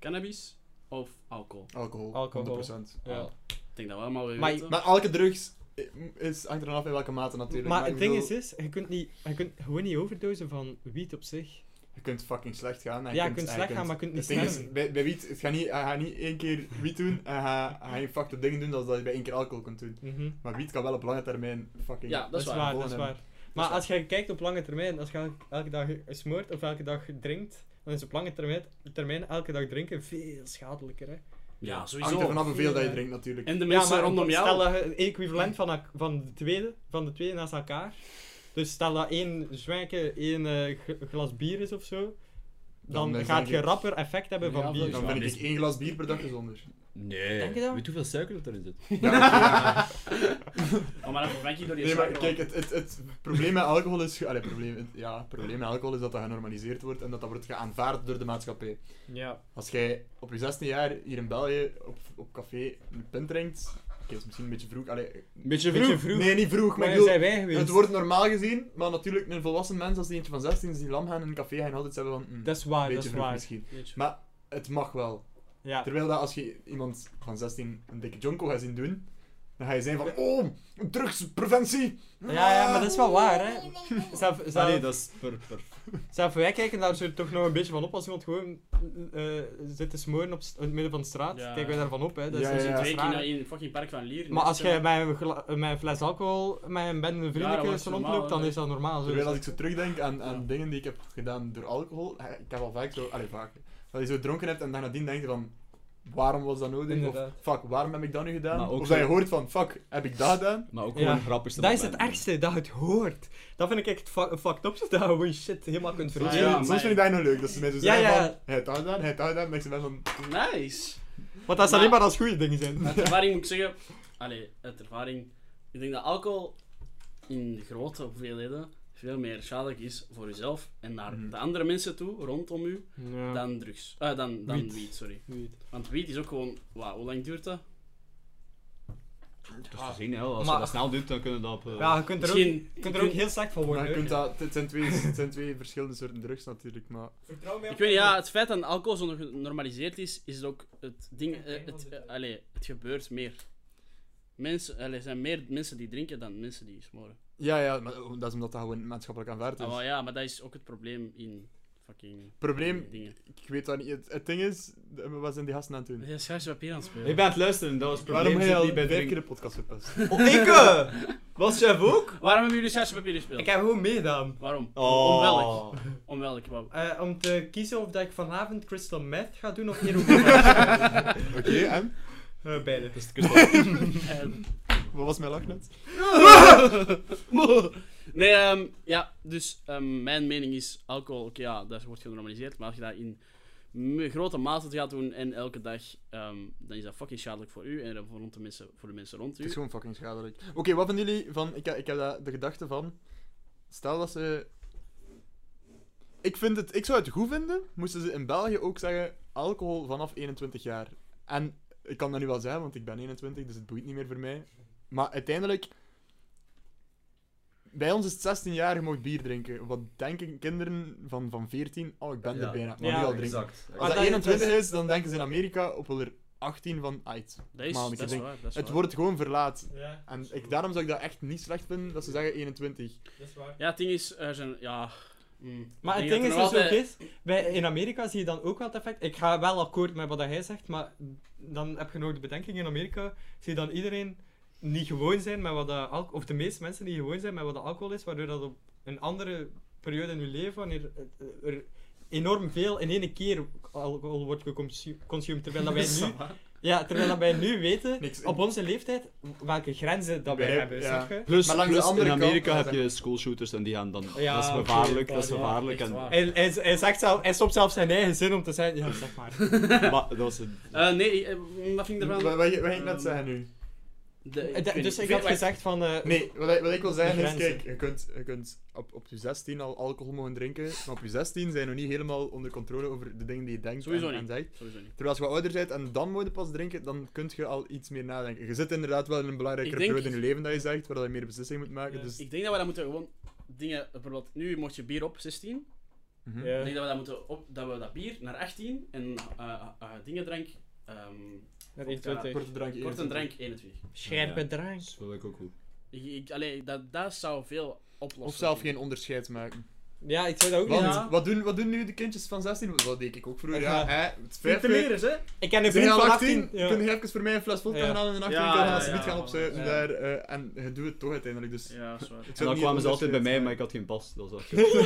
B: Cannabis of alcohol?
E: Alcohol.
D: Alcohol.
E: 100%.
D: Ja.
B: Ik denk dat we allemaal weer
D: Maar-
B: weten.
E: Maar elke drugs is hangt er dan af in welke mate natuurlijk.
D: Maar
E: ik
D: het ding
E: bedoel,
D: is, is je, kunt niet, je kunt gewoon niet overdosen van wiet op zich.
E: Je kunt fucking slecht gaan. en
D: Ja, je kunt slecht
E: en
D: gaan, maar je kunt niet
E: Het ding is,
D: sterven.
E: bij, bij wiet, het gaat niet, hij gaat niet één keer wiet doen en ga, ga je fucked up dingen doen als dat je bij één keer alcohol kunt doen.
D: Mhm.
E: Maar wiet kan wel op lange termijn fucking...
B: ja, dat is waar.
D: dat is
E: Gewoon,
D: waar. Maar als je kijkt op lange termijn, als je elke- elke dag smoort of elke dag drinkt, dan is op lange termijn, termijn elke dag drinken veel schadelijker. Hè?
B: Ja,
E: hangt er
B: sowieso.
E: vanaf hoeveel dat je drinkt natuurlijk.
B: En de mensen rondom jou.
D: Stel dat je een equivalent van, elk- van, de tweede, van de twee naast elkaar. Dus stel dat één zwijken één eh, g- glas bier is of zo. Dan,
E: Dan is
D: gaat
E: dat
D: je
E: niet-
D: rapper effect hebben
B: Ja,
D: van bier.
E: Dan ben ik één glas bier per dag gezonder.
A: Nee.
D: Denk je dat?
A: Weet hoeveel suiker dat erin zit?
B: Oh, maar dan ben je door die
E: Nee, maar
B: zaken,
E: kijk, het, het, het probleem met alcohol is... Allee, probleem, het- ja, het probleem met alcohol is dat dat genormaliseerd wordt en dat dat wordt geaanvaard door de maatschappij.
D: Ja.
E: Als jij op je 16 jaar hier in België op, op café een pint drinkt... Oké, dat is misschien een beetje vroeg. Allee,
A: Beetje
D: Beetje
A: vroeg.
D: vroeg.
E: Nee, niet vroeg, maar
D: maar
E: ik
D: daar
E: bedoel,
D: zijn wij geweest.
E: Het wordt normaal gezien, maar natuurlijk, een volwassen mens als die eentje van 16 is die lam gaan in een café gaan altijd zeggen van... hm,
D: Dat is waar,
E: een
D: dat
E: beetje
D: is
E: vroeg
D: waar.
E: misschien.
B: hoor. Beetje-
E: Maar het mag wel.
D: Ja.
E: Terwijl dat als je iemand van 16 een dikke jonko gaat zien doen, dan ga je zijn van... Oh, drugspreventie!
D: Ja, ja, maar dat is wel waar, hè.
E: Ah,
D: Zelf, zelf,
A: Ah, nee, dat is per, per.
D: zelf wij kijken daar zo toch nog een beetje van op als iemand gewoon eh, zit te smoren op st- in het midden van de straat.
B: Ja.
D: Kijken wij daarvan op, hè. Dat
E: Ja,
D: is
E: ja,
D: zo
E: eh, ja.
B: Twee keer
D: raar.
B: naar een fucking park van dus Lier.
D: Maar als je
B: mensen-
D: met een, gla- met een fles alcohol met een bende
B: Ja, dat
D: vrienden
B: wordt normaal,
D: rondloopt, dan
B: hè.
D: is dat normaal. dus. Zo.
E: Terwijl als ik zo terugdenk aan, aan dingen die ik heb gedaan door alcohol, eh, ik heb al vaak zo... Allee, vaak. Dat je zo dronken hebt en dan nadien denk je van... Waarom was dat nodig?
D: Inderdaad.
E: Of fuck, waarom heb ik dat nu gedaan?
A: Maar ook
E: Of dat je
A: zo-
E: hoort van, fuck, heb ik dat gedaan?
A: Maar ook
D: Ja.
A: gewoon grappig.
D: Dat is het ergste, dat het hoort. Dat vind ik echt fu- fucked up, *laughs* dat je gewoon shit helemaal kunt
B: Ah,
D: vergeten.
B: ja,
E: Soms
B: maar-
E: vind ik dat nog leuk, dat ze mij zo
D: Ja,
E: zeggen
D: ja.
E: van... Hij heeft dat gedaan, hij heeft dat gedaan, en ik zeg van...
B: Nice.
D: Want dat is
B: Maar-
D: alleen maar als goede dingen zijn.
B: Uit ervaring moet ik zeggen... Allee, uit ervaring... Ik denk dat alcohol in grote hoeveelheden veel meer schadelijk is voor jezelf en naar
E: Mhm.
B: de andere mensen toe, rondom u, dan drugs. Eh, dan, dan
D: Wiet.
B: wiet, sorry. Want wiet is ook gewoon... Wauw, hoe lang duurt dat?
A: Dat is gezien, hè. Als
D: Maar-
A: je dat snel doet, dan kunnen we dat op... eh,
D: Ja, je kunt er,
B: Misschien-
D: ook, je kunt er ook heel slecht van
E: Maar
D: worden.
E: je kunt
D: hè.
E: dat, het, zijn twee, het zijn twee verschillende soorten drugs natuurlijk, maar...
D: Vertrouw mij op
B: Ik weet niet, ja, het feit dat alcohol zo nog genormaliseerd is, is het ook het ding...
D: Ik
B: eh,
D: denk
B: het,
D: wel
B: eh, allee, het gebeurt meer. Mensen, allee, er zijn meer mensen die drinken dan mensen die smoren.
E: Ja, ja, maar oh, dat is omdat dat gewoon maatschappelijk aanvaard
D: Dus-
E: is.
B: Ah, wel ja, maar dat is ook het probleem in fucking
E: Probleem,
B: dingen.
E: ik weet dat niet. Het, het ding is, we was in die gasten aan het doen?
B: Je is juist papier aan het spelen.
A: Ik ben aan het luisteren, dat was het
E: Waarom
A: probleem.
E: heb
A: zit
E: je al
A: niet bij
E: vijf
A: drinken.
E: keer de podcast verpest?
D: Oh, ik! eh,
A: Was chef ook?
B: Waarom hebben jullie juist papier gespeeld?
D: Ik heb gewoon meegedaan.
B: Waarom?
A: Oh.
B: Om welk? Om welk? Wauw.
D: Eh, om te kiezen of dat ik vanavond crystal meth ga doen of heroïne.
E: Oké, en?
D: Eh, beide.
A: Dat is het kustal.
B: En-
E: Wat was mijn lach nou? net?
B: nee, ehm, ja, dus ehm, mijn mening is alcohol, oké, ja, dat wordt genormaliseerd, maar als je dat in m- grote mate gaat doen en elke dag, ehm, dan is dat fucking schadelijk voor u en voor de mensen, voor de mensen rond
E: Het
B: u.
E: is gewoon fucking schadelijk. Oké, wat vinden jullie van... Ik, heb- ik heb daar de gedachte van... Stel dat ze... Ik, vind het, ik zou het goed vinden, moesten ze in België ook zeggen alcohol vanaf 21 jaar. En ik kan dat nu wel zeggen, want ik ben 21, dus het boeit niet meer voor mij. Maar uiteindelijk... Bij ons is het 16 jaar, je mag bier drinken. Wat denken kinderen van, van 14? Oh, ik ben er
A: Ja.
E: bijna, ik mag
D: Ja,
E: nu al drinken.
A: Exact.
E: Als
D: Maar
E: dat
D: dat-
E: 21
D: dat
E: is, dan denken ze in Amerika op wel er 18 van... Ah, het-
B: Dat is,
E: Maar ik
B: dat is
E: denk-
B: waar, dat is
E: het
B: waar.
E: wordt gewoon verlaat.
D: Ja,
E: En ik, daarom zou ik dat echt niet slecht vinden dat ze zeggen 21.
D: dat is waar.
B: Ja, het ding is, er zijn, ja...
E: Hmm.
B: mm,
D: Maar
B: ik
D: het
B: denk
D: ding is
B: dat er
D: dus ook
B: altijd-
D: is, bij, in Amerika zie je dan ook wel het effect. Ik ga wel akkoord met wat hij zegt, maar dan heb je nog de bedenking in Amerika, zie je dan iedereen niet gewoon zijn met wat dat alcohol, of de meeste mensen die gewoon zijn met wat dat alcohol is, waardoor dat op een andere periode in je leven, wanneer eh, er enorm veel in één keer alcohol wordt geconsumeerd,
B: *laughs*
D: terwijl dat wij nu, ja, terwijl dat wij nu weten,
E: Niks.
D: op onze leeftijd, welke grenzen dat wij,
E: Wij-
D: hebben,
E: ja.
D: snap je?
A: Plus,
E: Maar langs de
A: plus
E: andere
A: in Amerika
E: kant-
A: heb je schoolshooters en die gaan dan...
D: Ja,
A: dat is
D: oké,
A: gevaarlijk,
D: dat
A: dat is
D: is- ja,
A: gevaarlijk.
B: echt
A: en,
B: waar.
D: Hij, hij, hij, zegt zelf, hij stopt zelf zijn eigen zin om te zijn, ja, zeg maar.
A: *laughs* maar, dat was een-
B: Eh, nee, eh, wat vind ik
E: Wat,
B: ervan?
E: wat, wat ging ik net
B: Ehm,
E: zeggen nu?
B: de- ik
D: Eh,
B: weet
D: da-
B: niet.
D: Dus ik
B: Vind-
D: had gezegd van... eh,
E: Nee, wat, ik- wat ik wil zeggen is,
D: grenzen.
E: kijk, je kunt, je kunt op, op je 16 al alcohol mogen drinken, maar op je 16 zijn je nog niet helemaal onder controle over de dingen die je denkt
B: Sowieso
E: en, en
B: niet.
E: zegt.
B: Sowieso niet.
E: Terwijl als je wat ouder bent en dan moet je pas drinken, dan kun je al iets meer nadenken. Je zit inderdaad wel in een belangrijkere
B: Ik denk-
E: periode in je leven dat je zegt, waar je meer beslissingen moet maken.
D: Ja.
E: Dus,
B: Ik denk dat we dat moeten gewoon dingen, bijvoorbeeld, nu mocht je bier op 16,
E: Mhm.
D: ja.
B: Ik denk dat we dat moeten op, dat we dat bier naar 18 en eh, eh, dingendrank, ehm,
D: Dat
B: heeft wel
E: Korte drankje.
B: kort en
E: 21.
B: drank 21.
D: Scherpe drank.
A: Dat wil ik ook goed.
B: Ik, ik, allee, dat, dat zou veel oplossen.
E: Of zelf geen onderscheid maken.
D: Ja, ik zou dat ook
E: Want,
D: niet
B: Ja.
E: wat, doen, wat doen nu de kindjes van 16? Wat deed ik ook vroeger?
D: Ja.
E: Ja, hè? Het vijfde.
B: hè?
D: Ik ken
E: Zijn
D: een vriend
E: al
D: van
E: 18?
D: 18.
E: Kun je even voor mij een fles vodka
D: Ja.
E: gaan halen en een 18
B: Ja,
E: kan gaan
B: ja,
E: alsjeblieft
B: ja.
E: gaan opzuipen
D: Ja.
E: daar. eh, en je doet het toch uiteindelijk, dus...
B: Ja, dat is waar.
E: ik
A: En
E: zou
A: dan
E: niet
A: kwamen ze
E: het
A: altijd bij mij, maar ik
E: onderscheid
A: had geen pas. Dat was wel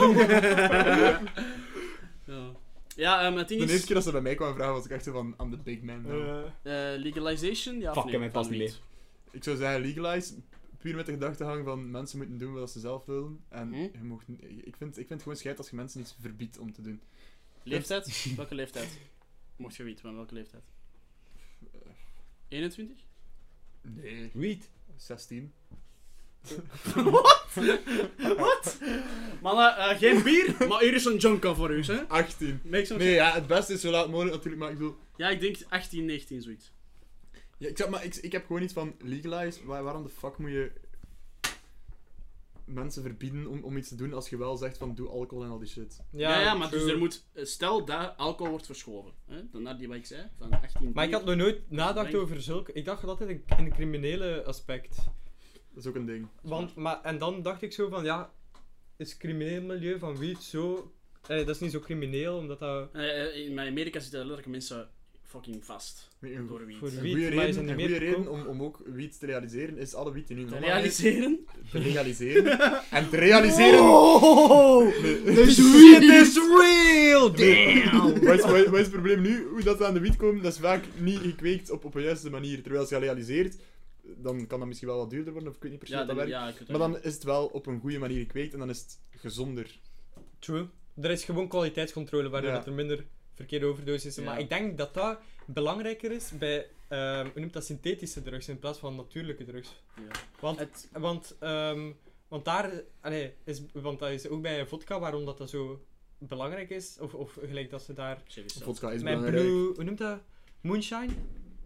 B: Ja, ja ehm,
E: maken.
B: het ding
E: De
B: is,
E: eerste keer dat ze bij mij kwamen vragen was ik echt zo van, I'm the big man now.
B: eh, legalization, ja of
A: Fuck,
B: nee?
A: ik heb mijn
B: Of
A: pas niet
E: Ik zou zeggen, legalize, puur met de gedachtegang van mensen moeten doen wat ze zelf willen. En
B: Hm?
E: je mocht, n- ik, vind, ik vind het gewoon scheid als je mensen iets verbiedt om te doen. *laughs*
B: Leeftijd? welke leeftijd? Mocht je weten, maar welke leeftijd?
E: Eh. *laughs*
B: 21?
E: Nee.
A: Weed.
E: 16.
B: Wat? Mannen, eh, geen bier, maar hier is een jonka voor u, hè?
E: 18.
B: Make some
E: Nee, ja, het beste is zo laat mogelijk natuurlijk, maar ik bedoel...
B: Ja, ik denk 18, 19, zoiets.
E: Ja, ik, zeg, maar ik, ik heb gewoon iets van legalize. Waar, waarom de fuck moet je mensen verbieden om, om iets te doen als je wel zegt van doe alcohol en al die shit?
B: Ja, ja, maar dus er moet, eh, stel dat alcohol wordt verschoven, hè? dan naar die wat ik zei, van 18
D: Maar ik had nog nooit nagedacht
B: Denk-
D: over zulke... Ik dacht altijd in in het criminele aspect.
E: Dat is ook een ding.
D: Want, maar, en dan dacht ik zo van, ja... Is het crimineel milieu van wie zo... Eh, dat is niet zo crimineel, omdat dat...
B: Eh, eh, in Amerika zitten letterlijk mensen fucking vast
E: Een, een
B: door wiet.
D: Voor
E: goede
D: wiet, maar is
E: reden,
D: in
E: een goede
D: Amerika
E: reden om, om ook wiet te realiseren is alle wiet die nu
B: Te
E: normaal is,
B: realiseren?
E: te legaliseren.
D: *laughs*
E: en te realiseren...
D: Oh!
E: *laughs*
A: This weed is real!
E: Wat is, wat, is- wat is het probleem nu? Hoe dat we aan de wiet komen, dat is vaak niet gekweekt op, op de juiste manier. Terwijl als je realiseert, dan kan dat misschien wel wat duurder worden, of ik weet niet precies
B: Ja,
E: hoe dat
B: dan,
E: werkt.
B: ja, ik weet het
E: Maar
B: ook.
E: dan is het wel op een goede manier gekweekt en dan is het gezonder.
D: True. Er is gewoon kwaliteitscontrole, waardoor
E: Ja.
D: dat er minder verkeerde overdoses zijn.
B: Ja.
D: Maar ik denk dat dat belangrijker is bij... ehm hoe noemt dat? Synthetische drugs in plaats van natuurlijke drugs.
B: Ja.
D: Want,
B: Het-
D: want, ehm, want daar, allee, is, want dat is ook bij vodka waarom dat, dat zo belangrijk is. Of, of gelijk dat ze daar,
B: Serieus zelfs.
E: Vodka is
D: mijn
E: belangrijk. Hmm.
D: blue, hoe noemt dat? Moonshine?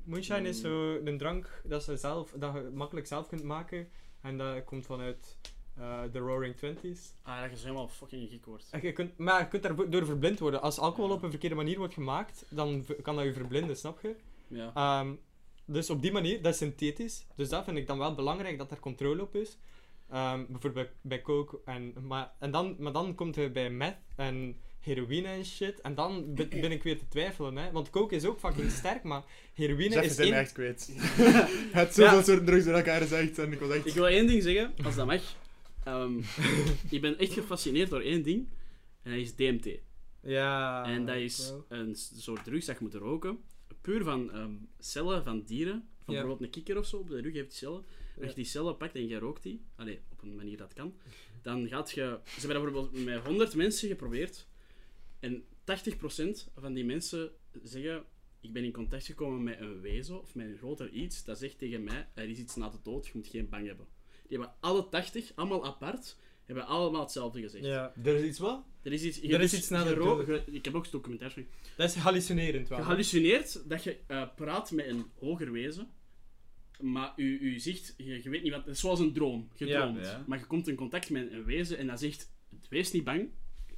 D: Moonshine is zo een drank dat, ze zelf, dat je makkelijk zelf kunt maken. En dat komt vanuit eh, de Roaring Twenties.
B: Ah, dat is helemaal fucking gek wordt.
D: En Je kunt, maar je kunt daardoor verblind worden. Als alcohol op een verkeerde manier wordt gemaakt, dan v- kan dat je verblinden, snap je?
B: Ja.
D: Ehm, dus op die manier, dat is synthetisch. Dus dat vind ik dan wel belangrijk dat er controle op is. Ehm, bijvoorbeeld bij, bij coke. En, maar, en dan, maar dan komt je bij meth en heroïne en shit. En dan be- ben ik weer te twijfelen. Hè? Want coke is ook fucking sterk, maar heroïne
E: Jeff
D: is
E: is hem
D: één...
E: echt
D: *laughs*
E: kwijt. het zoveel
D: Ja.
E: soorten drugs door elkaar zegt en ik was echt...
B: Ik wil één ding zeggen, als dat mag. Ehm, *laughs* ik ben echt gefascineerd door één ding. En dat is DMT.
D: Ja.
B: en dat is
D: Ah, bro.
B: een s- soort drugs dat je moet roken. Puur van ehm, cellen van dieren. Van bijvoorbeeld een kikker of zo. Op de rug heeft die cellen. En Als je die cellen pakt en je rookt die. Allee, op een manier dat kan. Dan gaat je... Ze hebben dat bijvoorbeeld met 100 mensen geprobeerd. En 80% van die mensen zeggen... Ik ben in contact gekomen met een wezen of met een groter iets dat zegt tegen mij, er is iets na de dood, je moet geen bang hebben. Die hebben alle 80, allemaal apart, hebben allemaal hetzelfde gezegd.
D: Ja.
A: Er is iets wat?
B: Er is iets, dus
D: Er is iets na de
B: gero-
D: dood.
B: ge- Ik heb ook documentaires van
D: Dat is hallucinerend wel.
B: gehallucineerd dat je eh, praat met een hoger wezen, maar u, u ziet, je, je weet niet wat, het is zoals een droom, je
D: Ja.
B: droomt.
A: Ja.
B: Maar je komt in contact met een wezen en dat zegt, wees niet bang,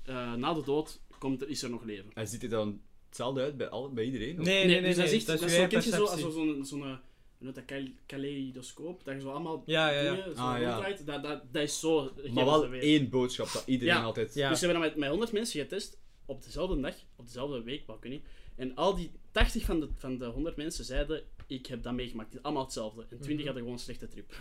B: eh, na de dood komt, er- is er nog leven.
A: En ziet hij dan hetzelfde uit bij, al, bij iedereen? of-
D: nee, nee, nee.
B: dus dat
D: nee,
B: zegt, dat is
D: je
B: zo, kent je zo,
D: perceptie.
B: als zo'n, zo'n, eh, hoe noemt dat, kale- kaleidoscoop, dat je zo allemaal
D: Ja, ja, ja.
B: dingen zo
A: Ah, ja.
B: ronddraait, dat, dat, dat is zo.
A: Maar
B: geven ze
A: wel
B: weer.
A: één boodschap dat iedereen
B: Ja.
A: altijd...
D: Ja.
B: Dus ze hebben dat met, met 100 mensen getest, op dezelfde dag, op dezelfde week, wat ik weet niet. En al die 80 van de, van de 100 mensen zeiden, ik heb dat meegemaakt. Het is allemaal hetzelfde. En 20
D: Mhm.
B: hadden gewoon een slechte trip.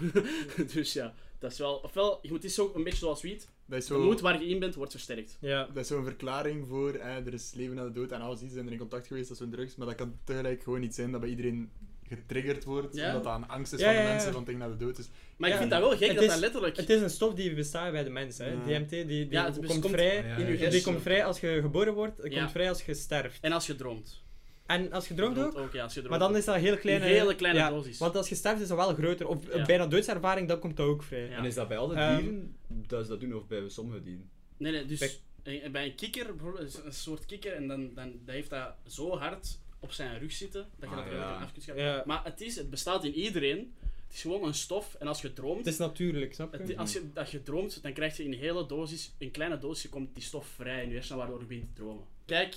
B: *laughs* dus ja, dat is wel... Ofwel, je moet, het is zo een beetje zoals wiet.
E: Dat is
B: De
E: zo...
B: moed waar je in bent, wordt versterkt.
D: Ja.
E: Dat is zo'n verklaring voor, eh, er is leven na de dood en alles iets, zijn er in contact geweest, dat is zo'n drugs. Maar dat kan tegelijk gewoon iets zijn dat bij iedereen getriggerd wordt,
B: Ja.
E: omdat dat een angst is
D: Ja,
E: van de
D: ja, ja.
E: mensen van tegen naar de dood is.
B: Maar ik
D: Ja.
B: vind dat wel gek,
D: Het
B: dat
D: is-
B: dat letterlijk...
D: Het is een stof die bestaat bij de mens. Hè.
E: Ja.
D: DMT die, die
B: Ja, het
D: komt,
B: bes- komt-
D: vrij.
A: Ah,
B: in
A: ja,
B: je
A: ja,
D: Die
B: hersenen.
D: komt vrij als je geboren wordt, die
B: Ja.
D: komt vrij als je sterft.
B: En als je droomt.
D: En als je droomt ook,
B: ja, als je droomt
D: maar dan
B: ook.
D: is dat een heel kleine,
B: Een hele kleine
D: ja,
B: dosis.
D: Want als je sterft is dat wel groter. Of
B: Ja.
D: bijna doodservaring, dan komt dat ook vrij.
B: Ja.
A: En is dat bij alle
D: Ehm,
A: dieren dat ze dat doen, of bij sommige dieren?
B: Nee, nee, dus
D: Bij-
B: bij, bij een kikker, bijvoorbeeld, is een soort kikker, en dan, dan dat heeft dat zo hard op zijn rug zitten, dat je
A: Ah,
B: dat er wel
A: ja.
B: af kunt schaffen.
D: Ja.
B: Maar het, is, het bestaat in iedereen. Het is gewoon een stof, en als je droomt,
D: Het is natuurlijk, snap je?
B: het- als, je, als je droomt, dan krijg je in hele dosis, een kleine dosis, komt die stof vrij in je hersenen, waardoor je begint te dromen. Kijk,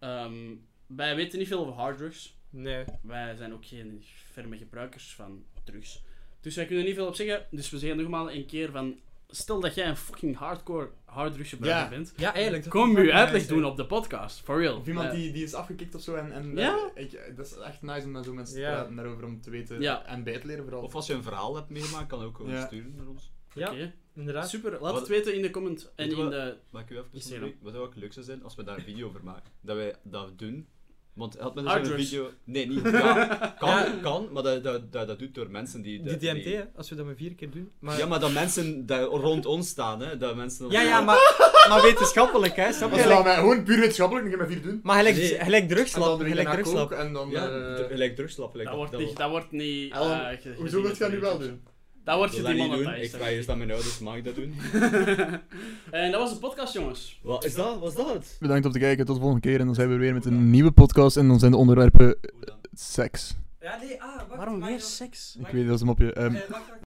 B: ehm, wij weten niet veel over harddrugs.
D: Nee.
B: Wij zijn ook geen ferme gebruikers van drugs. Dus wij kunnen er niet veel op zeggen. Dus we zeggen nogmaals een keer van... Stel dat jij een fucking hardcore harddrugs gebruiker
E: Ja.
B: bent.
D: Ja, eigenlijk. dat
B: Kom
D: zou
B: je
D: wel
B: uitleg
D: nice
B: doen
D: zijn.
B: op de podcast. For real.
E: Of iemand
B: Eh,
E: die, die is afgekikt of zo, en, en
B: Ja.
E: eh, ik, dat is echt nice om met zo mensen
D: Ja.
E: te praten daarover, om te weten
B: Ja.
E: en bij te leren vooral.
A: Of als je een verhaal hebt meegemaakt, kan ook gewoon
E: Ja.
A: sturen naar ons.
D: Ja,
B: oké.
D: inderdaad.
B: Super, laat
A: Wat-
B: het weten in de comment. En
A: Weet je
B: in
A: wat-
B: de...
A: Mag ik u even
B: Is er
A: onderbreken? Wat zou ook leuk zou zijn als we daar een video over maken? Dat wij dat doen. Want had men
B: Hard
A: zo'n
B: drugs.
A: video. Nee, niet. Ja,
D: *laughs*
A: kan, kan, maar dat, dat, dat, dat doet door mensen die.
D: Die DMT, hè, als we dat maar vier keer doen. Maar...
A: Ja, maar dat mensen dat rond ons staan, hè? Dat mensen.
D: ja, ja, maar, maar wetenschappelijk, hè? Snap je?
E: Maar ze laten
D: Gelijk-
E: mij gewoon puur wetenschappelijk, dan ga ik met vier doen.
D: Maar gelijk,
A: Nee.
D: gelijk
E: En dan
D: drugslab.
E: de week
D: Gelijk
E: daarna
D: drugslab.
E: coke en dan...
A: Ja,
E: eh,
A: d- gelijk drugslap. Gelijk,
B: Dat wordt
A: dat
B: niet...
A: wel.
B: Dat wordt niet...
E: Alan,
B: eh, ge-
E: Hoezo wil
B: gezien
E: je dat
B: met
E: nu wel
B: drugs.
E: doen?
B: Dat wordt
A: Ik wil dat niet doen.
B: gedemonetized. *laughs*
A: Ik vraag eerst aan mijn ouders, mag ik dat doen?
B: En Eh, dat was de podcast, jongens.
A: Wat is dat? Was dat het?
E: Bedankt om te kijken, tot de volgende keer. En dan zijn we weer met een nieuwe podcast. En dan zijn de onderwerpen eh,
A: Hoe dan?
E: seks.
D: Ja, nee, ah, wacht. Eh,
B: Waarom weer seks?
E: Ik weet dat is een mopje. Ehm,
D: wacht, wacht.